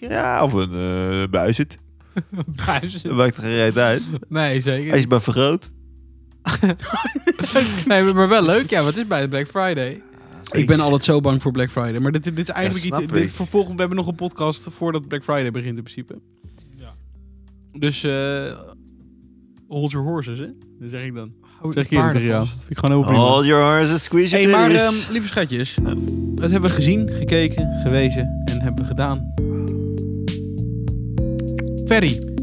S3: vosoogje?
S2: Ja, of een eh buizerd. [LAUGHS]
S3: Buis.
S2: Dat maakt er gereed uit.
S3: Nee,
S2: Hij
S3: zeker.
S2: is maar vergroot.
S3: Nee, maar wel leuk. Ja, wat is bij de Black Friday?
S1: Ik ben altijd zo bang voor Black Friday. Maar dit, dit is eigenlijk
S2: snap
S1: iets... Dit,
S2: ik.
S1: voor volgende, we hebben nog een podcast voordat Black Friday begint in principe.
S3: Ja.
S1: Dus eh, hold your horses, hè? Dat zeg ik dan.
S3: Hou
S1: zeg ik eerlijk
S3: de paarden
S1: tegen jou.
S3: vast.
S1: Vind ik gewoon heel prima.
S2: Hold your horses, squeeze
S1: Hey,
S2: your
S1: maar
S2: titties.
S1: ehm, lieve schatjes, dat hebben we gezien, gekeken, gewezen en hebben we gedaan.
S3: Ferry.
S1: ehm,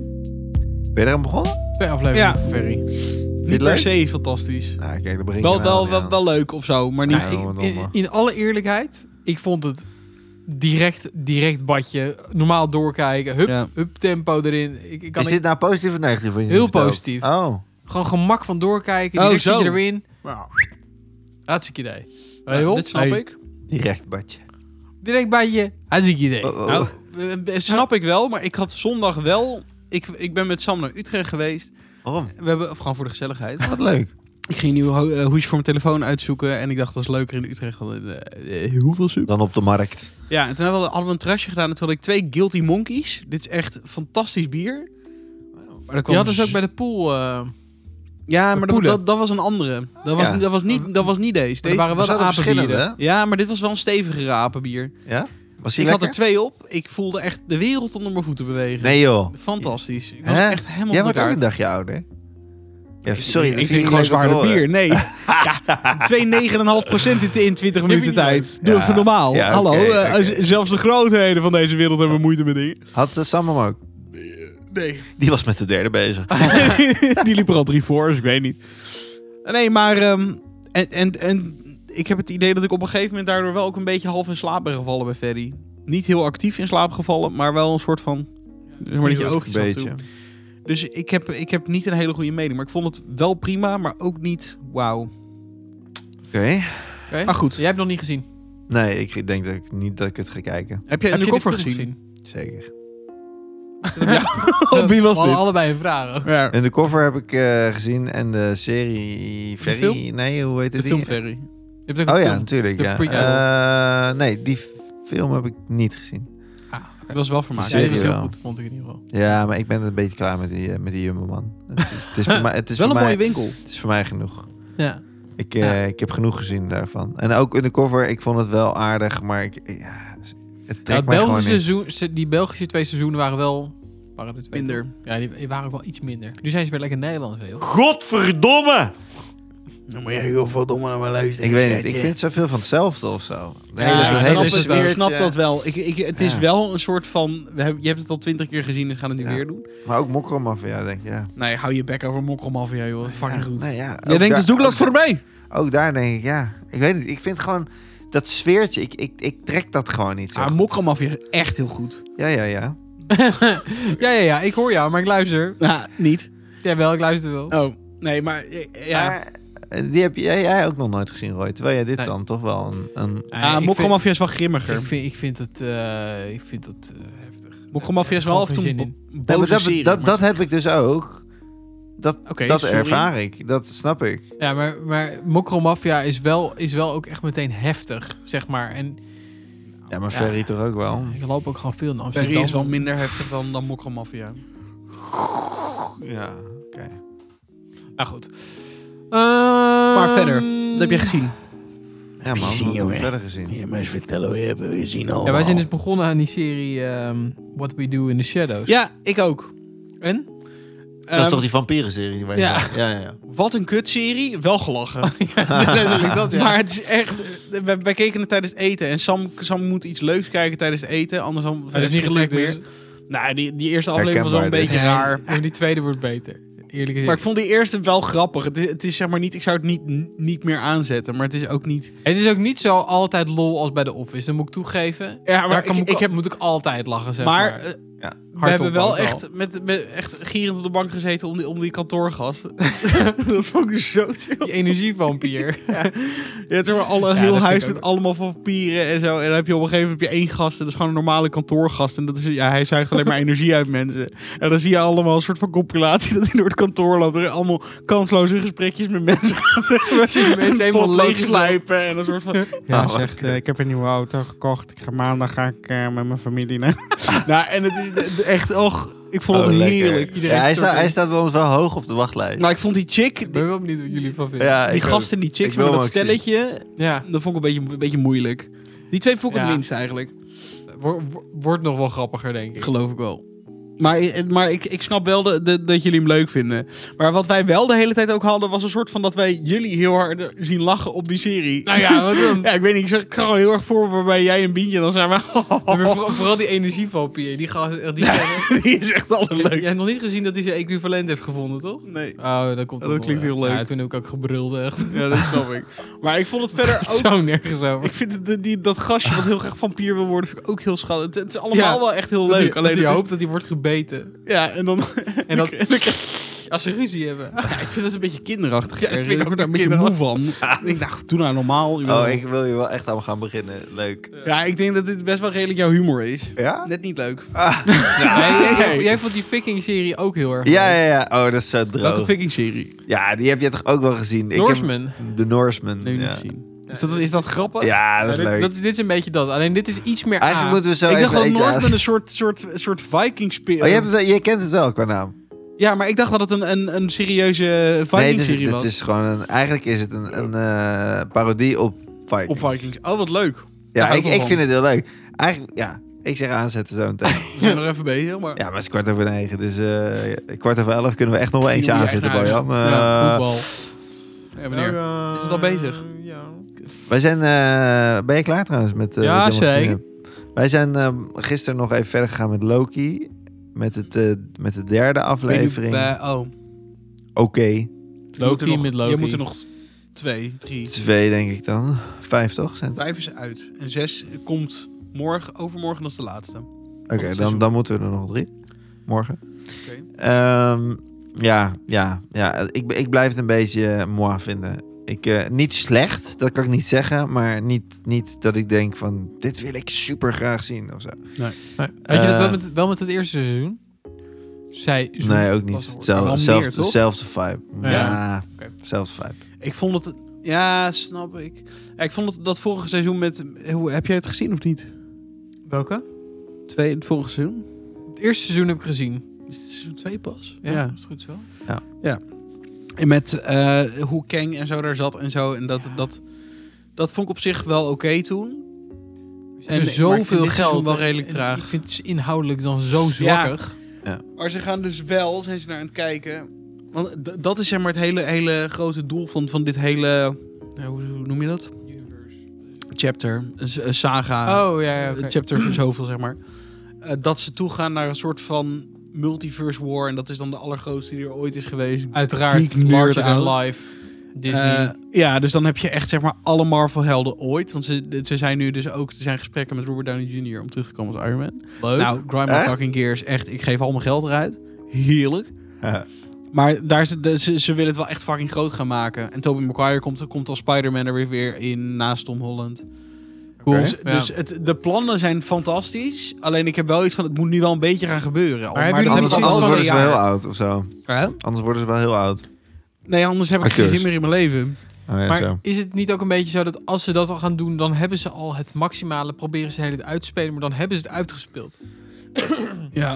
S2: Ben je eraan begonnen?
S3: Twee afleveringen
S1: Ja.
S3: van Ferry.
S1: Niet per
S2: leuk?
S1: se fantastisch.
S2: Nou, kijk, daar begin ik
S1: Wel,
S2: er nou
S1: wel,
S2: niet
S1: wel,
S2: aan.
S1: wel leuk of zo, maar niet...
S2: Nee, jongen, dom,
S3: In,
S2: hoor.
S3: in alle eerlijkheid, ik vond het direct, direct badje. Normaal doorkijken. Hup,
S1: Ja.
S3: hup tempo erin. Ik, ik kan
S2: Is dit nou positief of negatief? wat je
S3: Heel
S2: nu vertelt?
S3: positief.
S2: Oh.
S3: Gewoon gemak van doorkijken.
S1: Oh,
S3: Direct zit je
S1: zo.
S3: erin.
S1: Nou,
S3: Hartstikke idee.
S1: nou,
S3: Heel.
S1: dit snap
S3: Hey.
S1: ik.
S2: Direct, badje.
S3: Direct bij je. Hartstikke idee.
S2: Oh, oh.
S1: Nou, eh, eh, snap ik wel, maar ik had zondag wel... Ik, ik ben met Sam naar Utrecht geweest.
S2: Waarom?
S1: We hebben, of gewoon voor de gezelligheid.
S2: Wat leuk.
S1: Ik ging nieuw ho- eh, hoesje voor mijn telefoon uitzoeken. En ik dacht, dat is leuker in Utrecht dan in eh, eh, Hilversum.
S2: Dan op de markt.
S1: Ja, en toen hadden we, hadden we een terrasje gedaan. En toen had ik twee Guilty Monkeys. Dit is echt fantastisch bier. Maar dat
S3: Je
S1: kwam
S3: had dus
S1: z-
S3: ook bij de pool... eh,
S1: Ja,
S3: de
S1: maar dat,
S3: poelen.
S1: dat, dat was een andere. Dat was,
S2: Ja.
S1: niet- dat was, niet, dat was niet deze.
S3: er
S1: deze
S3: waren wel de
S2: zaten verschillende,
S3: apenbieren.
S2: hè?
S1: Ja, maar dit was wel een stevigere apenbier.
S2: Ja? Was hij
S1: Ik had
S2: lekker?
S1: er twee op. Ik voelde echt de wereld onder mijn voeten bewegen.
S2: Nee joh.
S1: Fantastisch. Ik was
S2: Hè?
S1: echt helemaal van
S2: Jij wordt ook
S1: elkaar.
S2: een dagje ouder. Ja, sorry.
S1: ik
S2: dat vind
S1: drink
S2: leuk
S1: gewoon
S2: om te
S1: zwaarder
S2: horen.
S1: bier. Nee.
S2: [LAUGHS]
S1: ja, 2,9,5% in, in 20
S3: vind ik
S1: minuten
S3: niet
S1: tijd.
S2: leuk.
S1: Doe
S2: Ja.
S1: even normaal.
S2: Ja,
S1: Hallo.
S2: oké,
S1: eh,
S2: oké.
S1: z- Zelfs de grootheden van deze wereld hebben moeite met dingen.
S2: Had eh, Sam hem ook?
S1: Nee.
S2: Die was met de derde bezig.
S1: [LAUGHS] Die liep er al drie voor, dus ik weet niet. Nee, maar... ehm, en, en, en ik heb het idee dat ik op een gegeven moment daardoor wel ook een beetje half in slaap ben gevallen bij Ferry. Niet heel actief in slaap gevallen, maar wel een soort van... Zeg maar dat je
S2: Een
S1: oogjes af en toe-
S2: beetje.
S1: Dus ik heb, ik heb niet een hele goede mening. Maar ik vond het wel prima, maar ook niet wauw.
S2: Oké.
S3: Oké.
S1: Maar Ah, goed.
S3: Jij hebt het nog niet gezien.
S2: Nee, ik denk dat ik niet dat ik het ga kijken.
S1: Heb jij
S3: Heb
S1: een
S3: je de
S1: koffer
S3: film
S1: gezien?
S2: Zeker.
S1: Op [LAUGHS] wie was
S3: We hadden
S1: dit?
S3: allebei een vraag.
S1: Ja,
S2: En de cover heb ik eh, gezien en de serie Ferry.
S1: film?
S2: Nee, hoe heet
S1: de
S2: het?
S1: filmferry.
S3: Je hebt ook een
S2: Oh ja,
S3: film.
S2: natuurlijk.
S3: De
S2: Ja. Eh, nee, die film heb ik niet gezien.
S3: Ah, oké.
S1: Dat was wel vermaakt.
S3: Ja, die was heel
S2: Serieus.
S3: goed, vond ik in ieder geval.
S2: Ja, maar ik ben een beetje klaar met die, eh, met die jumbo man. het is
S1: [LAUGHS]
S2: voor mij, het is
S1: wel
S2: voor
S1: een
S2: mij,
S1: mooie winkel.
S2: het is voor mij genoeg.
S3: Ja.
S2: Ik, eh,
S3: Ja.
S2: ik heb genoeg gezien daarvan. En ook in de cover, ik vond het wel aardig, maar ik, ja, het trekt
S3: Ja, het
S2: mij gewoon
S3: Belgische
S2: niet.
S3: seizoen, se- die Belgische twee seizoenen waren wel... Waren er twee
S1: Minder.
S3: toch? Ja, die, die waren ook wel iets minder. Nu zijn ze weer lekker Nederlands, joh.
S2: Godverdomme!
S1: Dan moet je heel veel dommer naar mijn luisteren.
S2: Ik weet niet, ik vind het zoveel van hetzelfde of zo. De
S1: Ja,
S3: dat
S1: ik,
S3: hele
S1: snap het,
S3: sfeertje.
S1: ik snap dat wel. Ik, ik, het is
S2: Ja.
S1: wel een soort van... We hebben, je hebt het al twintig keer gezien, dus gaan we het nu
S2: Ja.
S1: weer doen.
S2: Maar ook Mokromafia, denk ik, ja.
S1: Nee, hou je bek over mokkelmafia, joh. Fucking
S2: Ja,
S1: goed.
S2: nee, ja.
S1: Jij
S2: Ook
S1: denkt,
S2: daar-
S1: dus Douglas voor mij.
S2: Ook daar denk ik, ja. Ik weet niet, ik vind gewoon dat sfeertje, ik, ik, ik trek dat gewoon niet zo.
S1: Ah,
S2: goed.
S1: mokkelmafia is echt heel goed.
S2: Ja, ja, ja.
S3: ja, ja, ja. Ik hoor jou, maar ik luister.
S1: Nou, niet.
S3: Jawel, ik luister wel.
S1: Oh, nee, maar... eh, Ja.
S2: Maar, eh, die heb jij, jij ook nog nooit gezien, Roy. Terwijl jij dit
S3: Nee.
S2: dan toch wel een... een
S3: Ah,
S1: Ah,
S3: ik
S1: mokkelmafia
S3: vind-
S1: is wel grimmiger.
S3: Ik vind, ik vind het... eh, ik vind het eh, heftig.
S1: Mokkelmafia is wel af
S3: Gewoon
S1: en toe
S3: geen
S1: een
S3: zin
S1: bo-
S2: Nee, maar
S1: boze
S2: dat,
S1: serie,
S2: dat,
S1: maar-
S2: dat heb ik dus ook. Dat,
S1: Oké,
S2: dat
S1: sorry.
S2: ervaar ik. Dat snap ik.
S3: Ja, maar, maar Mokromafia is wel, is wel ook echt meteen heftig, zeg maar. En
S2: Ja, maar
S3: Ja.
S2: Ferry toch ook wel.
S3: ik loop ook gewoon veel in Amsterdam.
S1: Perry Hm. is wel minder heftig dan, dan Mokkelmafia.
S2: Ja, oké.
S3: Nou goed. Ehm, maar
S1: verder, Dat heb je gezien.
S2: Ja man,
S1: gezien,
S2: we hebben
S1: jongen?
S2: verder gezien.
S1: maar eens vertellen, we hebben we gezien al.
S3: Ja, wij zijn dus begonnen aan die serie ehm, What We Do in the Shadows.
S1: Ja, ik ook.
S3: En?
S1: Eh,
S2: Dat is
S3: Ehm,
S2: toch die vampieren-serie? die wij
S3: ja.
S2: zagen? ja, ja, ja.
S1: Wat een kutserie. Wel gelachen. [LAUGHS]
S3: ja, letterlijk dat, [LAUGHS] ja.
S1: Maar het is echt... eh, Wij, wij keken het tijdens het eten. En Sam, Sam moet iets leuks kijken tijdens het eten. Anders dan...
S3: dat is niet gelukt dus. meer.
S1: Nou, die, die eerste aflevering was wel een
S2: Herkenbaar,
S1: beetje
S2: dit.
S1: raar.
S3: Maar die tweede wordt beter. Eerlijk gezegd.
S1: Maar ik vond die eerste wel grappig. Het is, het is zeg maar niet... Ik zou het niet, niet meer aanzetten. Maar het is ook niet...
S3: Het is ook niet zo altijd lol als bij The Office. Dat moet ik toegeven.
S1: Ja, maar
S3: Daar
S1: ik,
S3: kan,
S1: ik,
S3: moet, ik
S1: heb...
S3: moet ik altijd lachen, zeg maar.
S1: Maar... eh,
S2: Ja.
S1: We hebben wel
S3: hardop.
S1: echt, met, met, echt gierend op de bank gezeten om die, om die kantoorgast.
S3: [LAUGHS]
S1: [LAUGHS] dat vond ik zo chill.
S3: Die
S1: [LAUGHS]
S3: energievampier. [LAUGHS]
S1: Je hebt zeg maar al een
S3: Ja, dat
S1: heel
S3: vind
S1: huis
S3: ik ook.
S1: met allemaal papieren en zo. En dan heb je op een gegeven moment heb je één gast. En dat is gewoon een normale kantoorgast. En dat is, ja, hij zuigt [LAUGHS] alleen maar energie uit mensen. En dan zie je allemaal een soort van compilatie dat hij door het kantoor loopt. Er allemaal kansloze gesprekjes met [LAUGHS] mensen gaat hebben.
S3: mensen
S1: Een pot
S3: helemaal leeg
S1: leegslijpen En een soort van... [LAUGHS] Ja,
S2: Ah,
S1: zegt, eh, ik heb een nieuwe auto gekocht. Ik ga maandag ga ik, eh, met mijn familie naar... [LAUGHS] nou, en het is eh, echt... Och, ik vond het
S2: Oh, lekker.
S1: heerlijk.
S2: Ja, hij, staat, hij staat bij ons wel hoog op de wachtlijst.
S1: Nou, ik vond die chick...
S3: Ik
S1: Die,
S3: ben wel benieuwd wat jullie van vinden.
S2: ja,
S1: die
S2: ik
S1: gast en die chick,
S2: Ik wil
S1: maar dat
S2: hem ook zien.
S1: stelletje...
S3: Ja.
S1: Dat vond ik een beetje, een beetje moeilijk. Die twee vond ik
S3: Ja.
S1: het minst eigenlijk.
S3: Wor- wor- wordt nog wel grappiger, denk ik.
S1: Geloof ik wel. Maar, maar ik, ik snap wel de, de- dat jullie hem leuk vinden. Maar wat wij wel de hele tijd ook hadden, was een soort van dat wij jullie heel hard zien lachen op die serie.
S3: Nou ja, wat
S1: [LAUGHS]
S3: dan?
S1: Ja, ik weet niet, ik zag ik ga gewoon heel erg voor waarbij jij een bientje dan zijn
S3: Maar
S1: we...
S3: voor- vooral die energievampier. Die gast... Die,
S1: [LAUGHS] die is echt
S3: Jij
S1: allerleuk.
S3: hebt nog niet gezien dat hij zijn equivalent heeft gevonden, toch?
S1: Nee,
S3: Oh, dat komt
S1: Dat
S3: ook wel,
S1: klinkt
S3: ja.
S1: heel leuk.
S3: Ja, toen heb ik ook gebrulde. echt.
S1: ja, dat snap ik. Maar ik vond het verder ook...
S3: [LAUGHS] Zo nergens over.
S1: Ik vind het, de- die, dat gastje wat heel graag vampier wil worden, vind ik ook heel schattig. Het, het is allemaal
S3: Ja.
S1: wel echt heel
S3: Dat
S1: leuk.
S3: hij- dat
S1: Alleen
S3: hij
S1: het is-
S3: hoopt dat hij wordt gebeten.
S1: Ja, en dan... [LAUGHS]
S3: En dat
S1: en dan krijg
S3: als ze ruzie hebben.
S1: Ja, ik vind dat een beetje kinderachtig.
S3: Ja, ik
S1: ergens.
S3: vind
S1: ik
S3: ook
S1: word daar een beetje moe van. [LAUGHS] Ik denk, nou, doe nou normaal. joh.
S2: Oh, ik wil je wel echt aan gaan beginnen. Leuk.
S1: Ja, ik denk dat dit best wel redelijk jouw humor is.
S2: Ja?
S1: Net niet leuk. [LAUGHS]
S2: Ah.
S3: Nee, jij, jij-
S1: Nee.
S3: jij vond die Viking-serie ook heel erg
S2: Ja,
S3: leuk.
S2: ja, ja. Oh, dat is zo
S1: Welke
S2: droog.
S1: Viking-serie?
S2: Ja, die heb je toch ook wel gezien? Ik heb-
S3: Norseman.
S2: De Norseman.
S1: Nee, niet
S2: ja.
S1: gezien. Is dat, is dat grappig?
S2: ja, dat
S3: Ja,
S2: is
S3: dit-
S2: leuk.
S3: dat is- dit is een beetje dat. Alleen dit is iets meer
S2: Eigenlijk
S3: A.
S2: moeten we zo
S1: Ah. ik dacht
S2: even
S1: dat
S2: eentje
S1: Northman
S2: aan-
S1: een soort, soort, soort viking speelde.
S2: Oh, je, hebt het wel- je kent het wel qua naam.
S1: Ja, maar ik dacht dat het een, een, een serieuze
S2: nee, het
S1: Viking-serie
S2: is,
S1: was.
S2: het is gewoon een... Eigenlijk is het een, een eh, parodie op Vikings.
S1: Op Vikings. Oh, wat leuk.
S2: Ja,
S1: Daar
S2: ik,
S1: hou ik wel
S2: ik
S1: van.
S2: vind het heel leuk. Eigenlijk, ja. Ik zeg aanzetten zo
S1: [LAUGHS]
S2: meteen.
S1: We zijn nog even bezig, maar...
S2: Ja, maar het is kwart over negen. Dus eh, kwart over elf kunnen we echt nog wel
S1: Tien
S2: eentje
S1: uur echt
S2: aanzetten,
S1: naar huis.
S2: Bojan.
S3: Ja,
S2: Eh,
S3: voetbal.
S1: Ja, meneer. Is het al bezig?
S3: Ja.
S2: Wij zijn. eh, ben je klaar trouwens met. eh,
S3: Ja,
S2: wat je allemaal gezien
S3: zeker.
S2: hebt? Wij zijn eh, gisteren nog even verder gegaan met Loki. Met, het, eh, met de derde aflevering. Oké.
S1: Eh, oh. Je moet
S3: Loki
S1: er nog-
S3: met Loki.
S1: Je moet er nog twee, drie...
S2: Twee, denk ik dan. Vijf toch? Zijn het?
S1: Vijf is uit. En zes komt morgen, overmorgen als de laatste.
S2: Oké,
S1: het
S2: dan,
S1: seizoen.
S2: dan moeten we er nog drie. Morgen.
S1: Oké.
S2: Ehm, ja, ja, ja. Ik, ik blijf het een beetje eh, moi vinden. Ik, eh, niet slecht, dat kan ik niet zeggen. Maar niet, niet dat ik denk van... Dit wil ik super graag zien of zo.
S3: Nee. Had je dat
S2: Eh.
S3: wel met, wel met het eerste seizoen? Zij
S2: Nee, ook
S3: was
S2: niet.
S3: het woord.
S2: Hetzelfde,
S1: Wel meer,
S2: zelfde-
S1: toch?
S2: zelfde vibe.
S3: Ja.
S2: Ja,
S3: Oké.
S2: zelfde vibe.
S1: Ik vond het... Ja, snap ik. Ja, ik vond het dat vorige seizoen met... Hoe, heb jij het gezien of niet?
S3: Welke?
S1: Twee, het vorige seizoen?
S3: Het eerste seizoen heb ik gezien.
S1: Is het seizoen twee pas?
S3: Ja,
S1: Ja.
S3: is goed zo.
S1: En met eh, hoe Kang en zo daar zat en zo. En dat, dat, dat vond ik op zich wel oké toen. En-
S3: En
S1: maar ik vind dit
S3: zoveel
S1: seizoen
S3: geld.
S1: wel
S3: en-
S1: redelijk
S3: en
S1: traag.
S3: Ik vind het dus inhoudelijk dan zo zwakkig.
S1: Maar ze gaan dus wel, zijn ze naar aan het kijken... Want d- dat is zeg maar het hele, hele grote doel van, van dit hele... eh, hoe, hoe noem je dat? Chapter. Een s- een saga.
S3: Oh ja, ja oké.
S1: Eh, chapter zoveel, zeg maar. Eh, dat ze toegaan naar een soort van multiverse war. En dat is dan de allergrootste die er ooit is geweest.
S3: Uiteraard
S1: geek nerd
S3: larger than
S1: aan.
S3: life. Disney.
S1: Eh, ja, dus dan heb je echt zeg maar alle Marvel-helden ooit. Want ze, ze zijn nu dus ook, er zijn gesprekken met Robert Downey Jr. om terug te komen als Iron Man.
S3: Leuk.
S1: Nou, grind my
S2: Echt?
S1: fucking gears. Echt, ik geef al mijn geld eruit. Heerlijk.
S2: Ja.
S1: Maar daar, ze, de- ze, ze willen het wel echt fucking groot gaan maken. En Tobey Maguire komt, komt als Spider-Man er weer- weer in naast Tom Holland.
S3: cool.
S2: Oké.
S1: Dus,
S3: Ja.
S1: dus het, de plannen zijn fantastisch. Alleen ik heb wel iets van, het moet nu wel een beetje gaan gebeuren. Al-
S3: Maar hebben jullie
S2: Anders,
S1: dat
S3: het
S1: is
S2: anders
S3: gezien
S1: al
S2: worden ze wel
S1: een
S2: heel
S1: jaar.
S2: oud of zo.
S1: Hè?
S2: Anders worden ze wel heel oud.
S1: Nee, anders heb ik geen
S2: Acteurs.
S1: zin meer in mijn leven.
S2: Oh, ja,
S3: maar
S2: zo.
S3: is het niet ook een beetje zo dat als ze dat al gaan doen, dan hebben ze al het maximale, proberen ze de hele tijd uit te spelen, maar dan hebben ze het uitgespeeld.
S1: Ja.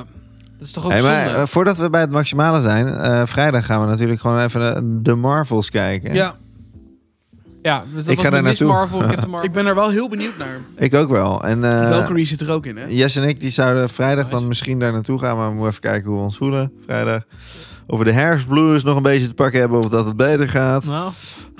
S3: Dat is toch ook
S2: Hey, maar
S3: zonde?
S2: eh, voordat we bij het maximale zijn, eh, vrijdag gaan we natuurlijk gewoon even eh, de Marvels kijken.
S1: ja,
S3: ja, dat was
S2: Ik ga daar
S3: Miss
S2: naartoe.
S3: Marvel,
S1: [LAUGHS]
S3: Captain Marvel.
S1: ik ben er wel heel benieuwd naar.
S2: Ik ook wel. En eh,
S1: Valkyrie zit er ook in, hè?
S2: Jess en ik die zouden vrijdag
S3: Nice.
S2: dan misschien daar naartoe gaan, maar we moeten even kijken hoe we ons voelen vrijdag. Of we de herfstblues nog een beetje te pakken hebben of dat het beter gaat.
S3: Nou,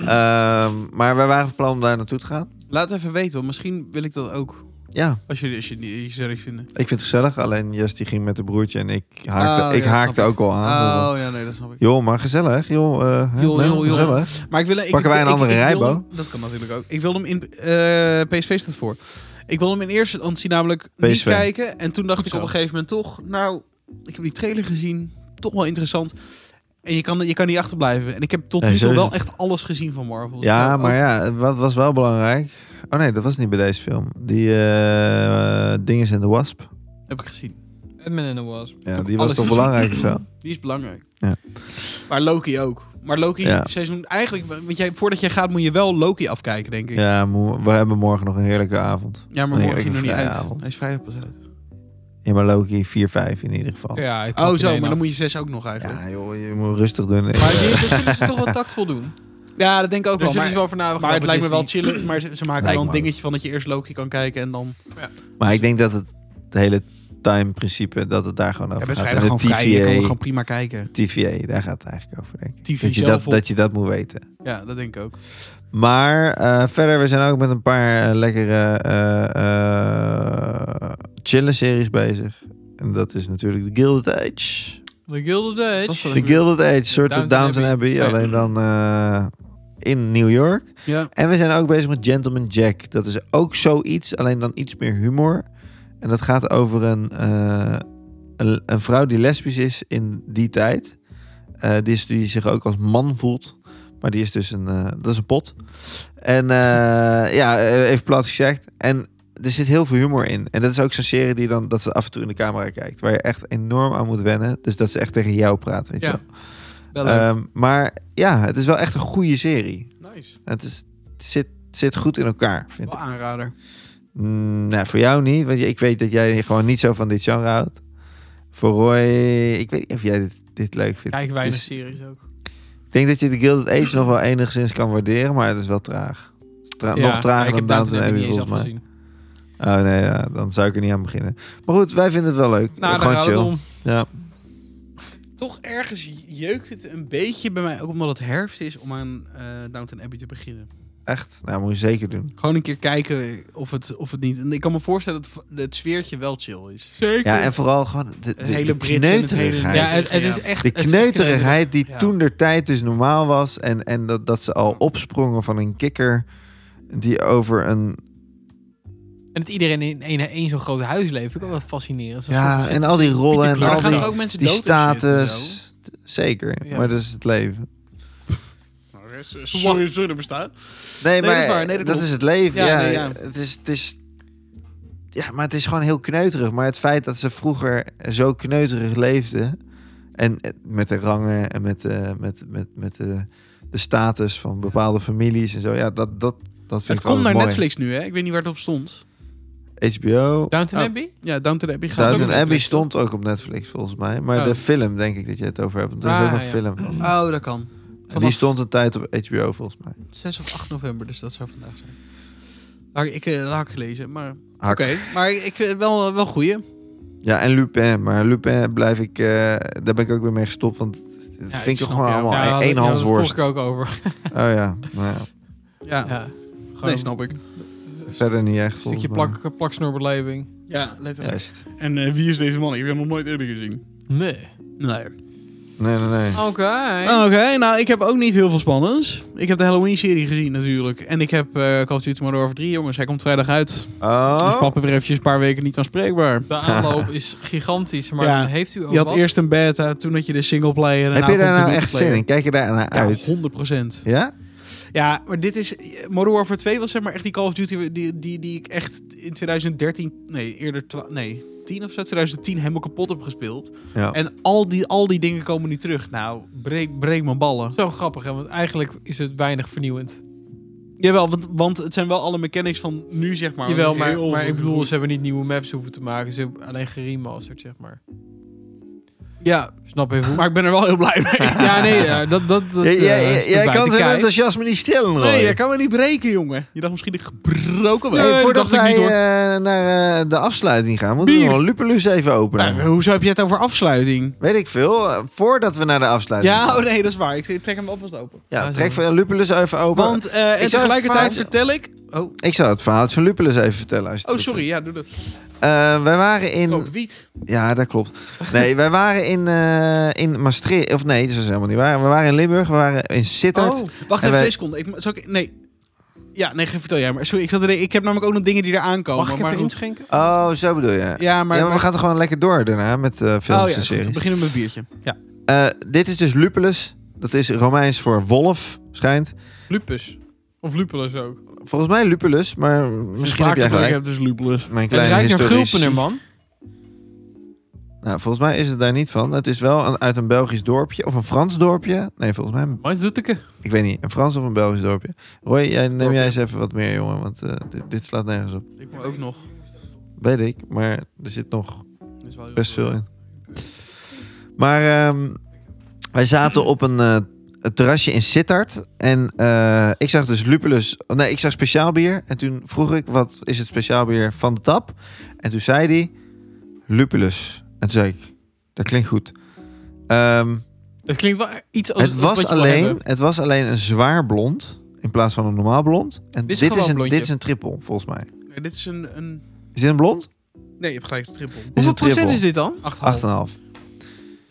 S2: Ehm, maar wij waren van plan om daar naartoe te gaan.
S1: Laat even weten, want misschien wil ik dat ook.
S2: Ja,
S1: Als jullie, als jullie het gezellig vinden.
S2: ik vind het gezellig. Alleen Jess die ging met de broertje en ik haakte,
S1: Oh,
S2: ik
S1: ja,
S2: haakte
S1: snap
S2: ook al aan.
S1: Oh, ja, nee, dat snap ik.
S2: Joh, maar gezellig. Joh, eh, hè,
S1: Joh,
S2: nee,
S1: joh, joh.
S2: gezellig.
S1: Maar ik wil, ik,
S2: Pakken wij een
S1: ik-
S2: andere
S1: ik wilde
S2: rijbo?
S1: hem- Dat kan natuurlijk ook. Ik wilde hem in... eh, PSV staat voor. Ik wilde hem in eerste instantie namelijk niet
S2: PSV.
S1: kijken. En toen dacht
S3: Goed
S1: ik
S3: zo.
S1: op een gegeven moment toch... Nou, ik heb die trailer gezien. Toch wel interessant. En je kan, je kan niet achterblijven. En ik heb tot
S2: Nee,
S1: nu
S2: zo
S1: toe
S2: is
S1: wel
S2: het.
S1: echt alles gezien van Marvel. Dus
S2: Ja,
S1: Ook-
S2: maar ja, wat was wel belangrijk. Oh nee, dat was niet bij deze film. Die eh Dinges in de Wasp.
S1: Heb ik gezien.
S3: Batman and the Wasp.
S2: Ja,
S1: heb
S2: die was
S1: alles
S2: toch
S1: gezien.
S2: belangrijk of zo?
S1: Die is belangrijk.
S2: Ja.
S1: Maar Loki ook. Maar Loki
S2: Ja.
S1: seizoen... Eigenlijk, want jij, voordat jij gaat moet je wel Loki afkijken, denk ik. Ja,
S2: Ja, moe- we hebben morgen nog een heerlijke avond.
S1: maar morgen
S2: Nee,
S1: is hij nog niet uit.
S2: vrijdagavond.
S1: Hij is vrijdag pas uit.
S2: Ja, maar Loki 4-5 in ieder geval. Ja,
S3: Ja, ik
S1: Oh
S3: trap
S1: zo,
S3: iedereen
S1: maar dan
S3: af.
S1: moet je zes ook nog eigenlijk. Ja,
S2: joh, je moet rustig doen.
S3: Maar die- dat zullen ze dus toch wel tactvol doen.
S1: dat denk ik ook
S3: Daar
S1: wel. Maar,
S3: zullen ze Dus wel voor nadenken.
S1: maar het lijkt me wel chillig. Maar ze, ze maken
S2: Lijkt
S1: wel
S2: me
S1: een dingetje van dat je eerst Loki kan kijken en dan...
S2: Maar ik denk dat het, het hele time-principe, dat het daar gewoon
S1: Ja,
S2: over
S1: bent
S2: gaat.
S1: vrijdag
S2: En
S1: gewoon
S2: de
S1: vrij. Je kan
S2: TVA,
S1: gewoon prima kijken.
S2: TVA, daar gaat het eigenlijk over, denk ik.
S1: TV
S2: dat, je
S1: zelf
S2: dat,
S1: op.
S2: dat je dat moet weten.
S1: Ja, dat denk ik ook.
S2: Maar eh, verder, we zijn ook met een paar eh, lekkere eh eh, chille series bezig. En dat is natuurlijk The Gilded Age.
S3: The Gilded
S1: Was
S3: Age.
S1: dat
S2: The Gilded Age, soort of
S3: Downton
S2: Downton Abbey,
S3: Abbey.
S2: alleen dan eh, in New York.
S1: Ja.
S2: En we zijn ook bezig met Gentleman Jack. Dat is ook zoiets, alleen dan iets meer humor. En dat gaat over een, eh, een, een vrouw die lesbisch is in die tijd. Eh, die, is, die zich ook als man voelt. Maar die is dus een, eh, dat is een pot. En eh, ja, eh, even plat gezegd. En er zit heel veel humor in. En dat is ook zo'n serie die dan, dat ze af en toe in de camera kijkt. Waar je echt enorm aan moet wennen. Dus dat ze echt tegen jou praat, weet je
S3: Ja,
S2: wel.
S1: Wel leuk.
S2: Ehm, maar ja, het is wel echt een goede serie.
S1: nice.
S2: Het, is, het zit, zit goed in elkaar, vind
S1: Wel
S2: ik.
S1: aanrader.
S2: Mm, nou, voor jou niet, want ik weet dat jij gewoon niet zo van dit genre houdt. Voor Roy, ik weet niet of jij dit, dit leuk vindt.
S3: Kijk
S2: Het
S3: weinig
S2: is-
S3: series ook.
S2: ik denk dat je de Gilded Age nog wel enigszins kan waarderen, maar het is wel traag. Tra-
S3: Ja,
S2: nog trager
S3: ik
S2: dan
S3: heb
S2: Downton
S3: Abbey
S2: Abbey,
S3: niet eens
S2: volgens mij.
S3: afgezien.
S2: Oh nee, ja, dan zou ik er niet aan beginnen. Maar goed, wij vinden het wel leuk.
S3: Nou, daar
S2: gewoon
S3: gaat
S2: chill.
S3: het om.
S2: Ja.
S1: Toch ergens jeukt het een beetje bij mij, ook omdat het herfst is, om aan eh Downton Abbey te beginnen.
S2: Echt, nou moet je zeker doen.
S1: Gewoon een keer kijken of het, of het niet... En ik kan me voorstellen dat het, het sfeertje wel chill is.
S3: Zeker.
S2: Ja, en vooral gewoon de, de,
S1: Het hele
S2: de
S1: Brits en het hele-
S2: kneuterigheid.
S3: Ja, het, het is echt...
S2: De
S3: het is echt-
S2: kneuterigheid die
S1: Ja.
S2: toen der tijd dus normaal was. En, en dat, dat ze al opsprongen van een kikker. Die over een.
S3: En dat iedereen in één, één zo'n groot huis leeft. Vind ik ook wel fascinerend. Zo'n
S2: Ja,
S3: soort-
S2: en al die rollen en
S1: Maar
S2: al
S1: dan gaan
S2: die,
S1: er ook mensen
S2: die
S1: dood en shit en zo.
S2: status. T- Zeker,
S3: Ja.
S2: maar dat is het leven.
S1: Nou, eh, Sorry, sorry, er bestaat.
S2: Nee,
S1: dat
S2: maar
S1: is waar. Nee, dat
S2: dat
S1: klopt.
S2: is het leven.
S1: Ja,
S2: Ja,
S1: nee, ja.
S2: Het is, het is, ja, maar het is gewoon heel kneuterig. Maar het feit dat ze vroeger zo kneuterig leefden. En eh, met de rangen en met, eh, met, met, met de, de status van bepaalde families en zo. Ja, dat, dat, dat vind
S1: Het
S2: ik wel
S1: komt naar
S2: mooi.
S1: Netflix nu, hè? Ik weet niet waar het op stond.
S2: HBO.
S3: Downton
S1: Oh.
S3: Abbey?
S1: Ja, Downton Abbey gaat ook
S2: Downton
S1: op
S2: Abbey
S1: Netflix,
S2: stond ook op Netflix volgens mij. Maar
S3: Oh.
S2: de film denk ik dat je het over hebt. Want er is
S3: Ah,
S2: ook een
S3: ja.
S2: film van.
S1: toch?
S2: En
S1: Oh, dat kan.
S2: die
S1: Vanaf
S2: stond een tijd op HBO volgens mij.
S1: 6 of 8 november, dus dat zou vandaag zijn. Laat ik, ik eh, laat ik gelezen, maar... Oké,
S2: Hak.
S1: maar ik eh, wel, wel goeie.
S2: Ja, en Lupin. Maar Lupin blijf ik... eh, daar ben ik ook weer mee gestopt. Want dat
S1: ik
S2: vind ik
S1: snap
S2: gewoon
S1: jou.
S2: allemaal
S3: ja,
S2: één
S3: daar
S2: één
S3: hadden- ja, daar
S2: hansworst.
S3: spoke ik ook over.
S2: Oh ja. Nou,
S3: [LAUGHS]
S2: ja.
S1: Ja,
S3: Ja. Gewoon
S1: nee, snap ik.
S2: Verder niet echt.
S3: Een
S2: volgens
S3: stukje
S2: mij.
S3: plak, plaksnoerbeleving.
S1: Ja, letterlijk.
S2: Juist.
S1: En eh, wie is deze man? Ik heb hem nog nooit eerder gezien.
S3: Nee.
S1: Nee.
S2: Nee, nee, nee.
S3: Oké.
S1: Oké, nou, ik heb ook niet heel veel spannends. Ik heb de Halloween-serie gezien natuurlijk. En ik heb eh Call of Duty Modern Warfare 3, jongens. Hij komt vrijdag uit. Dus
S2: Oh.
S1: papa weer eventjes een paar weken niet aanspreekbaar.
S3: De aanloop is gigantisch, maar
S1: Ja.
S3: dan heeft u ook
S1: Je had
S3: wat?
S1: eerst een beta, toen had je de singleplayer.
S2: Heb je daar nou echt
S1: player.
S2: zin in? Kijk je daar naar uit?
S1: Ja, 100 procent.
S2: Ja?
S1: Ja, maar dit is... Modern Warfare 2 was zeg maar echt die Call of Duty die, die, die ik echt in 2013... Nee, eerder... twa- Nee, 10 of zo. 2010 helemaal kapot heb gespeeld.
S2: Ja.
S1: En al die, al die dingen komen nu terug. Nou, breek, breek mijn ballen.
S3: Zo grappig, hè? want eigenlijk is het weinig vernieuwend.
S1: Jawel, want, want het zijn wel alle mechanics van nu, zeg maar.
S3: Jawel,
S1: Dus
S3: maar,
S1: heel
S3: maar ik
S1: veel
S3: bedoel,
S1: goed.
S3: ze hebben niet nieuwe maps hoeven te maken. Ze hebben alleen geremasterd, zeg maar.
S1: Ja,
S3: Snap even hoe.
S1: maar ik ben er wel heel blij
S3: [LAUGHS]
S1: mee.
S3: Ja, nee, eh, dat, dat, dat
S2: Jij-
S3: eh,
S2: jij-
S3: is
S2: Jij
S3: erbij
S2: kan zijn
S3: te kijken.
S2: enthousiasme niet stillen, Roy.
S1: Nee, dat kan me niet breken, jongen. Je dacht misschien dat ik gebroken ben.
S3: Nee,
S2: Hey,
S3: dat
S2: voordat
S3: dacht ik
S2: wij
S3: niet, hoor.
S2: eh, naar eh, de afsluiting gaan, moeten we
S1: Bier.
S2: nog Lupulus even openen.
S1: Nou, hoezo heb je het over afsluiting?
S2: Weet ik veel. eh, Voordat we naar de afsluiting
S1: Ja,
S2: gaan.
S1: oh nee, dat is waar. Ik trek hem alvast open.
S2: Ja,
S3: Ah,
S2: trek
S3: zo.
S2: van Lupulus even open.
S1: Want eh, en
S2: Ik zou
S1: tegelijkertijd
S2: even-
S1: vertel ik... Oh,
S2: Ik zou het verhaal van Lupulus even vertellen. Als je
S1: oh
S2: het goed
S1: sorry, Oh. ja, doe dat.
S2: vindt. Eh, wij waren in...
S1: Ook wiet.
S2: Ja, dat klopt.
S1: [LAUGHS]
S2: Nee, wij waren in, eh, in Maastricht. Of nee, dat is helemaal niet waar. We waren in Limburg, we waren in Sittard.
S3: Oh,
S1: Wacht even
S2: En wij-
S1: twee seconden. Ik, zal ik, nee. Ja, nee, geen- vertel jij maar. Sorry, ik, zat te denken, ik heb namelijk ook nog dingen die er aankomen.
S3: mag ik
S1: maar
S3: even
S1: goed.
S3: inschenken?
S2: Oh, zo bedoel je. Ja, maar,
S1: Ja, maar...
S2: we gaan toch gewoon lekker door daarna met eh, films
S1: oh ja,
S2: en
S1: is goed.
S2: series.
S1: We beginnen met een biertje. Ja.
S2: Eh, dit is dus Lupulus. Dat is Romeins voor wolf, schijnt.
S3: Lupus. Of lupulus ook.
S2: Volgens mij Lupulus, maar misschien heb jij
S1: Ik
S2: gelijk.
S1: heb dus lupulus.
S2: Mijn
S3: Het
S2: kleine
S3: ruikt naar
S2: historisch-
S3: gulpener, man.
S2: Nou, volgens mij is het daar niet van. Het is wel een, uit een Belgisch dorpje of een Frans dorpje. Nee, volgens mij, een-
S3: Maar zoeteke.
S2: ik weet niet, een Frans of een Belgisch dorpje. Roy, jij, neem
S3: Dorpje.
S2: jij eens even wat meer, jongen, want eh, dit, dit slaat nergens op.
S1: Ik moet ook nog.
S2: Weet ik, maar er zit nog
S1: Dat is wel heel
S2: best
S1: goed.
S2: veel in. Maar ehm, wij zaten op een eh, een terrasje in Sittard. En eh, ik zag dus Lupulus. oh, Nee, ik zag speciaal bier. En toen vroeg ik, wat is het speciaal bier van de tap? En toen zei hij, Lupulus. En toen zei ik, dat klinkt goed. Ehm,
S3: Het klinkt wel iets als
S2: het,
S3: als
S2: was
S3: Oh, wat je wil
S2: alleen,
S3: hebben.
S2: het was alleen een zwaar blond. In plaats van een normaal blond. En
S3: Dit is
S2: dit is,
S3: gewoon
S2: een,
S3: blondje.
S2: dit is een triple, volgens mij.
S1: Nee, dit is een, een...
S2: Is dit een blond?
S1: Nee, je hebt gelijk, het triple.
S2: is
S3: Hoeveel
S2: een
S3: procent
S2: triple.
S3: is dit dan?
S1: 8,5.
S2: 8,5.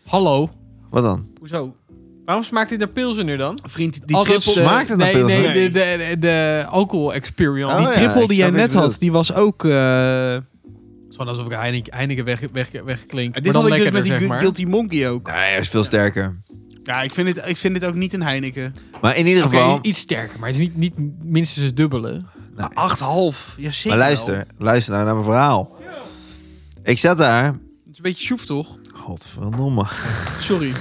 S3: Hallo.
S2: Wat dan?
S1: Hoezo?
S3: Waarom smaakt dit naar pilsener dan?
S1: Vriend, die
S3: Als dat,
S1: triple...
S3: eh,
S2: Smaakt het naar
S3: nee,
S2: pilsener?
S3: Nee, de, de, de, de alcohol experience.
S2: Oh,
S1: die
S2: ja,
S1: triple
S2: ik
S1: die jij
S2: snap wat je
S1: net had,
S2: bedoelt.
S1: die was ook... eh,
S3: Het is gewoon alsof ik Heineken, Heineken weg, weg, wegklink.
S1: En
S3: Maar
S1: dit
S3: dan
S1: had ik dus met
S3: lekkerder,
S1: die
S3: zeg
S1: Gu-
S3: maar. Oké,
S1: Guilty Monkey ook.
S2: Nee, hij is veel sterker.
S1: Ja, ik vind dit, ik vind dit ook niet een Heineken.
S2: Maar in ieder geval...
S3: iets sterker, maar het is niet, niet minstens het dubbele.
S2: Nee.
S1: 8,5. Ja, zeker wel.
S2: Maar luister, luister nou naar mijn verhaal. Ik zat daar...
S1: Het is een beetje sjoef, toch?
S2: Godverdomme.
S1: Sorry. [LAUGHS]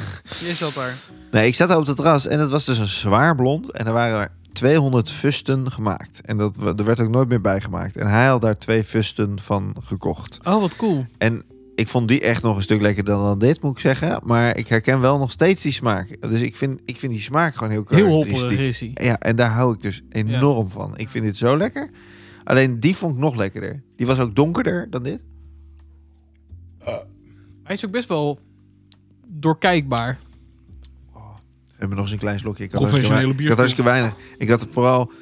S1: Je zat daar.
S2: Nee, ik zat daar op het terras en het was dus een zwaar blond. En er waren er 200 fusten gemaakt. En dat, w- er werd ook nooit meer bijgemaakt. En hij had daar twee fusten van gekocht.
S3: Oh, wat cool.
S2: En ik vond die echt nog een stuk lekkerder dan dit, moet ik zeggen. Maar ik herken wel nog steeds die smaak. Dus ik vind, ik vind die smaak gewoon heel
S3: Heel
S2: karakteristiek.
S3: hopperig is hij.
S2: Ja, en daar hou ik dus enorm van. Ik vind dit zo lekker. Alleen die vond ik nog lekkerder. Die was ook donkerder dan dit.
S3: Hij is ook best wel doorkijkbaar.
S2: We hebben nog eens een klein slokje. Ik had
S1: Professionele
S2: hartstikke wei-
S1: bierproef.
S2: Ik had hartstikke weinig. Ik had vooral...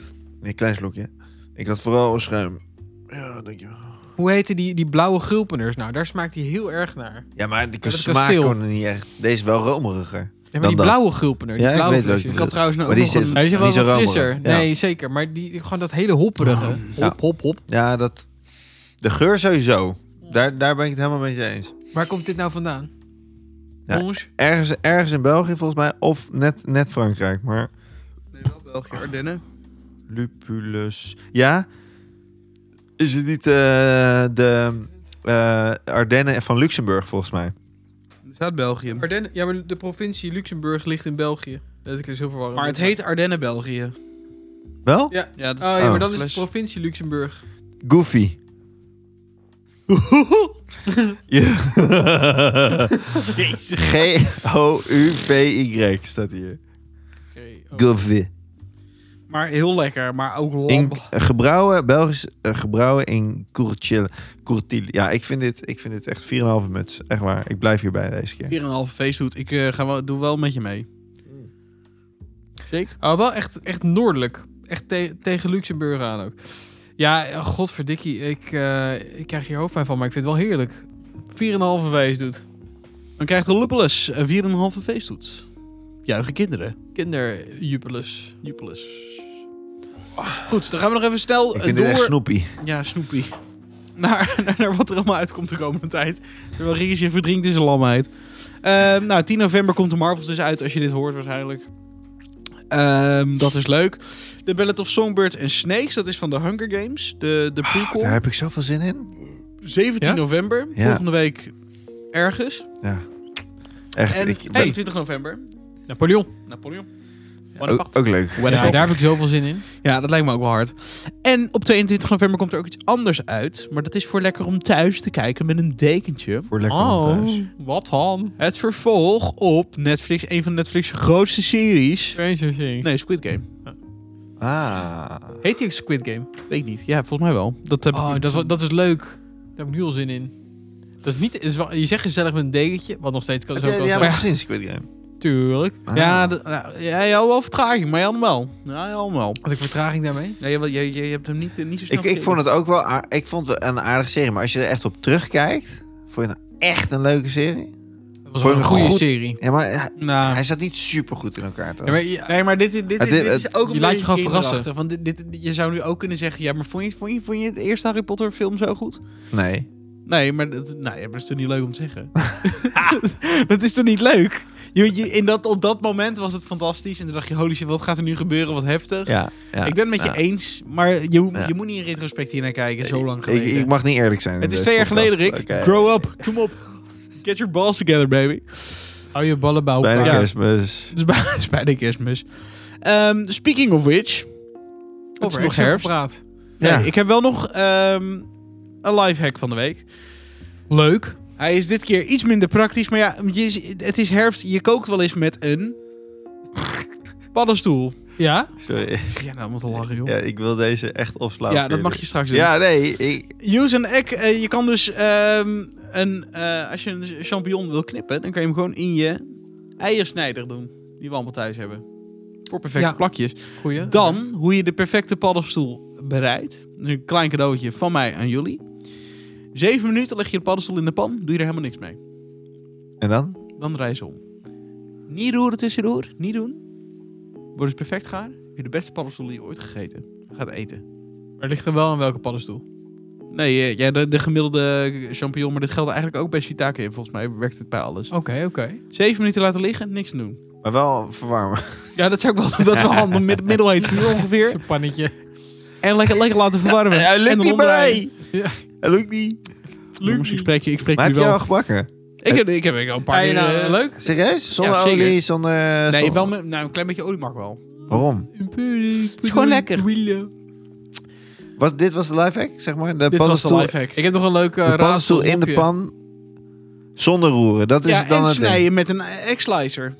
S2: Nee, een klein slokje. Ik had vooral een schuim. Ja, dankjewel.
S3: Hoe heten die, die blauwe gulpeners nou? Daar smaakt hij heel erg naar. Ja,
S2: Ja, maar de
S3: dat
S2: smaak
S3: kasteel.
S2: kon er niet echt. Deze is wel romeriger. Dan
S3: maar die
S2: dat.
S3: blauwe gulpener. Die
S2: Ja, ik
S3: blauwe
S2: weet welke
S3: flesjes.
S1: Ik had trouwens nou
S2: Maar
S1: ook
S2: die
S1: nog
S2: zit-
S1: een...
S3: Hij is wel
S2: Niet zo
S3: wat frisser.
S2: rommelig, ja.
S3: Nee, zeker. Maar die, gewoon dat hele hopperige.
S2: Ja.
S3: Hop, hop, hop.
S2: Ja, dat... De geur sowieso. Daar, daar ben ik het helemaal met je eens.
S3: Waar komt dit nou vandaan?
S2: Ja.
S3: Orange?
S2: Ergens, ergens in België volgens mij. Of net, net Frankrijk. Maar
S1: Nee, wel België, Ardennen.
S2: Lupulus. Ja? Is het niet eh, de eh, Ardennen van Luxemburg volgens mij?
S1: Zuid-België.
S3: Ardennen. Ja, maar de provincie Luxemburg ligt in België. Dat is heel verwarrend.
S1: Maar het heet Ardennen, België.
S2: Wel?
S3: Ja.
S1: Ja, dat
S3: Oh ja, maar dan is
S1: fles.
S3: de provincie Luxemburg.
S2: Goofy. [LAUGHS] Ja. G-O-U-V-Y staat hier.
S1: Oh.
S2: Goofy.
S1: Maar heel lekker, maar ook
S2: In
S1: lamp.
S2: gebrouwen, Belgisch eh, gebrouwen in Courtil. Courtil. Ja, ik vind dit, ik vind dit echt 4,5 muts. Echt waar. Ik blijf hierbij deze keer.
S1: 4,5 feesthoed. Ik eh, ga wel, doe wel met je mee. Zeker.
S3: Oh, wel echt, echt noordelijk. Echt te- tegen Luxemburg aan ook. Ja, eh, godverdikkie. Ik, eh, ik krijg hier hoofdpijn van, maar ik vind het wel heerlijk. 4,5 wees doet.
S1: Dan krijgt de Lupulus een 4,5 feesthoed. Juichen kinderen.
S3: Kinderjubelus.
S1: Lupulus. Goed, dan gaan we nog even snel
S2: Oh. Ik
S1: eh,
S2: vind dit
S1: door.
S2: echt snoepie.
S1: Ja, Snoopy. Naar, [LAUGHS] naar, naar wat er allemaal uitkomt de komende tijd. Terwijl Ricky zich verdrinkt in zijn lamheid. Ehm, nou, 10 november komt de Marvels dus uit als je dit hoort waarschijnlijk. Ehm, dat is leuk. The Ballad of Songbird and Snakes, dat is van de Hunger Games. De, de prequel.
S2: Ah, Daar heb ik zoveel zin in.
S1: 17
S3: Ja?
S1: november,
S2: Ja.
S1: volgende week ergens.
S2: Echt.
S1: En
S2: [LAUGHS] ik,
S1: 22 november,
S3: Napoleon.
S1: Napoleon.
S2: Ook, ook leuk.
S3: Ja, daar heb ik zoveel zin in.
S1: Ja, dat lijkt me ook wel hard. En op 22 november komt er ook iets anders uit. Maar dat is voor lekker om thuis te kijken met een dekentje.
S2: Voor lekker oh. thuis.
S3: wat dan?
S1: Het vervolg op Netflix, een van Netflix' grootste series.
S3: Stranger Things.
S1: Nee, Squid Game.
S2: Ah.
S3: Heet die Squid Game?
S1: Weet ik niet. Ja, volgens mij wel. Dat heb
S3: Oh,
S1: ik...
S3: dat is, wel- dat is leuk. Daar heb ik nu al zin in. Dat is niet, is wel, je zegt gezellig met een dekentje, wat nog steeds kan.
S2: Heb
S3: zo
S2: jij
S3: kan
S2: jij
S3: zijn.
S2: hebt gezien Squid Game?
S3: Tuurlijk.
S2: Ah.
S1: Ja, dat- nou, ja, jij had wel vertraging, maar jij had hem wel. Ja, jij had hem wel.
S3: Had ik vertraging daarmee?
S1: Ja, je, je, je hebt hem niet, eh, niet zo snel
S2: ik, ik
S1: gekeken.
S2: vond het ook wel aar- ik vond het een aardige serie. Maar als je er echt op terugkijkt, vond je het nou echt een leuke serie. Vond
S3: Dat was wel
S2: je
S3: een
S2: hem
S3: goede
S2: goed?
S3: serie.
S2: Ja, maar hij-
S1: Nou,
S2: hij zat niet super goed in elkaar. Toch?
S3: Ja, maar, ja,
S1: Nee, maar dit, dit, dit,
S2: Het
S1: is-
S2: is-
S1: dit is
S2: het-
S1: ook een
S3: je laat je
S1: beetje
S3: gewoon verrassen.
S1: kinderachtig, Want dit, dit- je zou nu ook kunnen zeggen... Ja, maar vond je, vond je, vond je het eerste Harry Potter film zo goed?
S2: Nee.
S1: Nee, maar dat, nou, ja, maar dat is toch niet leuk om te [LAUGHS] zeggen? dat is toch niet leuk? Je, je- in dat, op dat moment was het fantastisch. En toen dacht je, holy shit, wat gaat er nu gebeuren? Wat heftig.
S2: Ja, ja.
S1: ik ben het met
S2: ja.
S1: je eens, maar je, ho-
S2: Ja.
S1: je moet niet in retrospect hier naar kijken. Zo lang
S2: Ik,
S1: geleden.
S2: ik mag niet eerlijk zijn. in
S1: het is
S2: deze
S1: twee jaar
S2: podcast.
S1: geleden, Rick.
S2: Oké.
S1: Grow up. Kom op. Get your balls together, baby.
S3: hou je ballen bij
S2: Bijna
S3: elkaar.
S1: Ja.
S2: kerstmis.
S1: Het is bij- [LAUGHS] het is bijna kerstmis. Ehm, speaking of which... Het is nog herfst.
S3: Praat.
S1: Nee,
S2: Ja.
S1: ik heb wel nog ehm een lifehack van de week.
S3: Leuk.
S1: Hij is dit keer iets minder praktisch, maar ja, je is- het is herfst. Je kookt wel eens met een [LAUGHS] paddenstoel.
S3: Ja?
S2: Sorry.
S1: Ja, nou moet al lachen, joh.
S2: Ja, ik wil deze echt opslaan.
S1: Ja, dat mag je straks doen.
S2: Ja, nee. Ik,
S1: Use an egg. eh, je kan dus ehm, een, eh, als je een champignon wil knippen, dan kan je hem gewoon in je eiersnijder doen. Die we allemaal thuis hebben. Voor perfecte
S3: Ja.
S1: plakjes.
S3: Goeie.
S1: Dan hoe je de perfecte paddenstoel bereidt. Dus een klein cadeautje van mij aan jullie. Zeven minuten leg je de paddenstoel in de pan. Doe je er helemaal niks mee.
S2: en dan?
S1: Dan draai je ze om. Niet roeren tussendoor. Niet doen. Wordt het perfect gaar. Heb je de beste paddenstoel die je ooit gegeten gaat eten.
S3: Maar het ligt er wel aan welke paddenstoel.
S1: Nee, eh, ja, de, de gemiddelde champignon. Maar dit geldt eigenlijk ook bij shiitake. Volgens mij werkt het bij alles.
S3: Oké, oké.
S1: Zeven minuten laten liggen. Niks doen.
S2: Maar wel verwarmen. [LAUGHS]
S1: Ja, dat zou ik wel doen. Dat is wel handig. Mid, middelheet vuur ongeveer.
S3: Zo'n pannetje.
S1: En lekker, lekker laten verwarmen.
S2: Hij
S1: en
S2: lukt
S1: dan
S2: niet bij
S1: omdraaien.
S2: mij.
S3: Ja.
S2: Hij lukt niet.
S1: Jongens, ik spreek je, ik spreek
S2: Maar
S1: je
S2: heb jij
S1: wel.
S2: wel gebakken?
S1: Ik heb, ik heb ik al een paar
S3: Hey,
S1: keer...
S3: nou,
S1: eh,
S3: leuk.
S2: Serieus? Zonder
S1: Ja, zeker.
S2: olie, zonder...
S1: Nee,
S2: zonder-
S1: wel met, nou, een klein beetje olie mag wel.
S2: Waarom?
S3: Het
S1: is gewoon lekker.
S2: Was, dit was de lifehack, zeg maar? De
S1: Dit was de Eh,
S2: paddenstoel,
S1: lifehack.
S3: Ik heb nog een leuke
S2: de
S3: uh,
S2: paddenstoel in de pan zonder roeren. Dat is
S1: Ja,
S2: dan
S1: en
S2: het ding.
S1: snijden met een eh, eggslicer.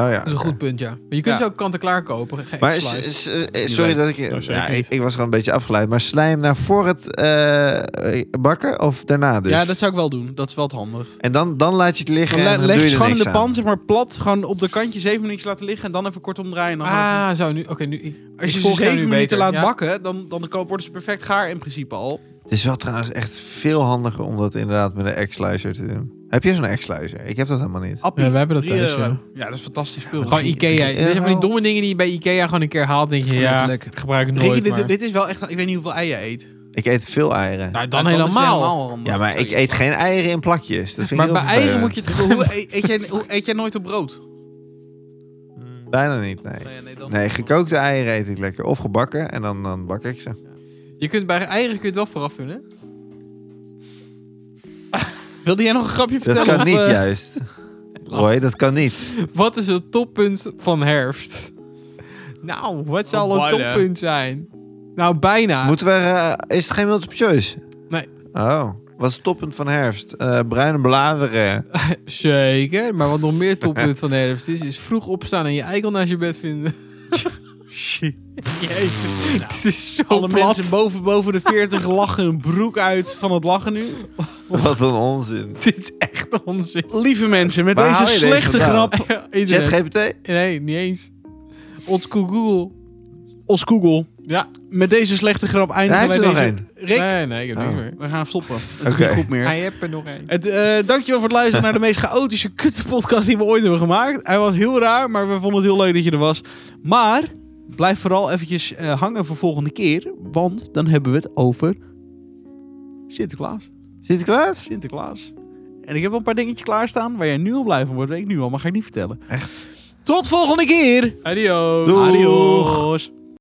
S2: Oh ja.
S3: Dat is een
S2: oké.
S3: goed punt, ja. Maar je kunt
S1: Ja.
S3: ze ook kant-en-klaar kopen. Geen
S2: Maar
S3: slice.
S2: s- s- eh,
S1: Niet
S2: sorry
S1: leuk.
S2: dat ik,
S1: Nou, zeker
S2: ja, ik...
S1: niet.
S2: ik was gewoon een beetje afgeleid. Maar slijm nou voor het eh, eh, bakken of daarna dus?
S1: Ja, dat zou ik wel doen. Dat is wel het handig.
S2: En dan, dan laat je het liggen
S1: Dan le-
S2: en dan
S1: leg je het
S2: doe je er
S1: gewoon in
S2: niks
S1: de pan,
S2: aan.
S1: zeg maar plat. Gewoon op de kantje zeven minuutjes laten liggen. En dan even kort omdraaien. En dan even-
S3: Ah, zo nu. Oké, nu. ik- ik
S1: Als je
S3: volg
S1: ze
S3: jou nu
S1: zeven minuten
S3: beter,
S1: laat
S3: ja.
S1: bakken, dan, dan ko- worden ze perfect gaar in principe al.
S2: Het is wel trouwens echt veel handiger om dat inderdaad met een eggslicer te doen. Heb je zo'n eggslicer? Ik heb dat helemaal niet.
S1: Appie,
S3: Ja, we hebben dat
S1: drie
S3: thuis,
S1: euro.
S3: ja.
S1: Ja, dat is een fantastisch spul.
S3: Gewoon Ikea.
S2: drie
S3: Dit zijn van die
S1: oh.
S2: euro.
S3: domme dingen die je bij Ikea gewoon een keer haalt. denk je, ja,
S2: Letterlijk.
S3: ik gebruik het
S1: Ricky,
S3: nooit, maar...
S1: dit, dit is wel echt... Ik weet niet hoeveel eieren eet.
S2: Ik eet veel eieren.
S3: Nou, dan,
S1: Ja, is het
S3: helemaal.
S1: handig. Oh,
S2: ja, maar ik eet geen eieren in plakjes. Dat vind
S3: Maar
S2: ik heel
S3: bij eieren
S2: vervelend.
S3: moet je het gewoon...
S1: Hoe e-, eet, eet jij, hoe eet jij nooit op brood?
S2: Bijna niet, nee.
S1: Nee, nee, dan-
S2: Nee, gekookte eieren eet ik lekker. Of gebakken en dan, dan bak ik ze.
S3: Je kunt bij eieren kun je het wel vooraf doen, hè?
S1: Wilde jij nog een grapje
S2: Dat
S1: vertellen?
S2: kan niet
S1: of, eh,
S2: juist. [LAUGHS] Roy, dat kan niet.
S3: Wat is het toppunt van herfst? [LAUGHS] Nou, wat zal het
S1: Ballen.
S3: toppunt zijn? Nou, bijna.
S2: Moeten we, eh, is het geen multiple choice?
S3: Nee.
S2: Oh, wat is het toppunt van herfst? Eh, bruine bladeren.
S3: Zeker, maar wat nog
S1: [LAUGHS]
S3: meer toppunt van herfst is, is vroeg opstaan en je eikel naast je bed vinden. [LAUGHS]
S1: Shit. Jezus.
S3: Dit is zo
S1: Alle
S3: plat.
S1: mensen boven, boven de 40 lachen hun broek uit van het lachen nu.
S2: Wat een onzin.
S3: [LAUGHS] Dit is echt onzin. [LAUGHS]
S1: Lieve mensen, met
S2: Waar
S1: deze
S2: haal je deze
S1: slechte
S2: vandaan?
S1: grap.
S3: Internet.
S2: ChatGPT?
S3: Nee, niet eens. Ons Google.
S1: Ons Google.
S3: Ja,
S1: Met deze slechte grap eindigen
S2: Daar heeft
S1: wij
S2: ze
S1: deze...
S2: nog één.
S1: Rick,
S3: nee, nee, ik heb
S2: Oh.
S3: niet meer.
S1: we gaan stoppen. Het is
S2: Oké.
S1: niet goed meer.
S3: Hij heeft er nog één.
S1: Het, eh, dankjewel voor het luisteren naar de meest chaotische kuttenpodcast die we ooit hebben gemaakt. Hij was heel raar, maar we vonden het heel leuk dat je er was. Maar blijf vooral eventjes eh, hangen voor volgende keer. Want dan hebben we het over Sinterklaas.
S2: Sinterklaas?
S1: Sinterklaas. En ik heb al een paar dingetjes klaarstaan waar jij nu al blij van wordt. Weet ik nu al, maar ga ik niet vertellen. Echt? Tot volgende keer!
S3: Adios.
S2: Doeg.
S1: Adios!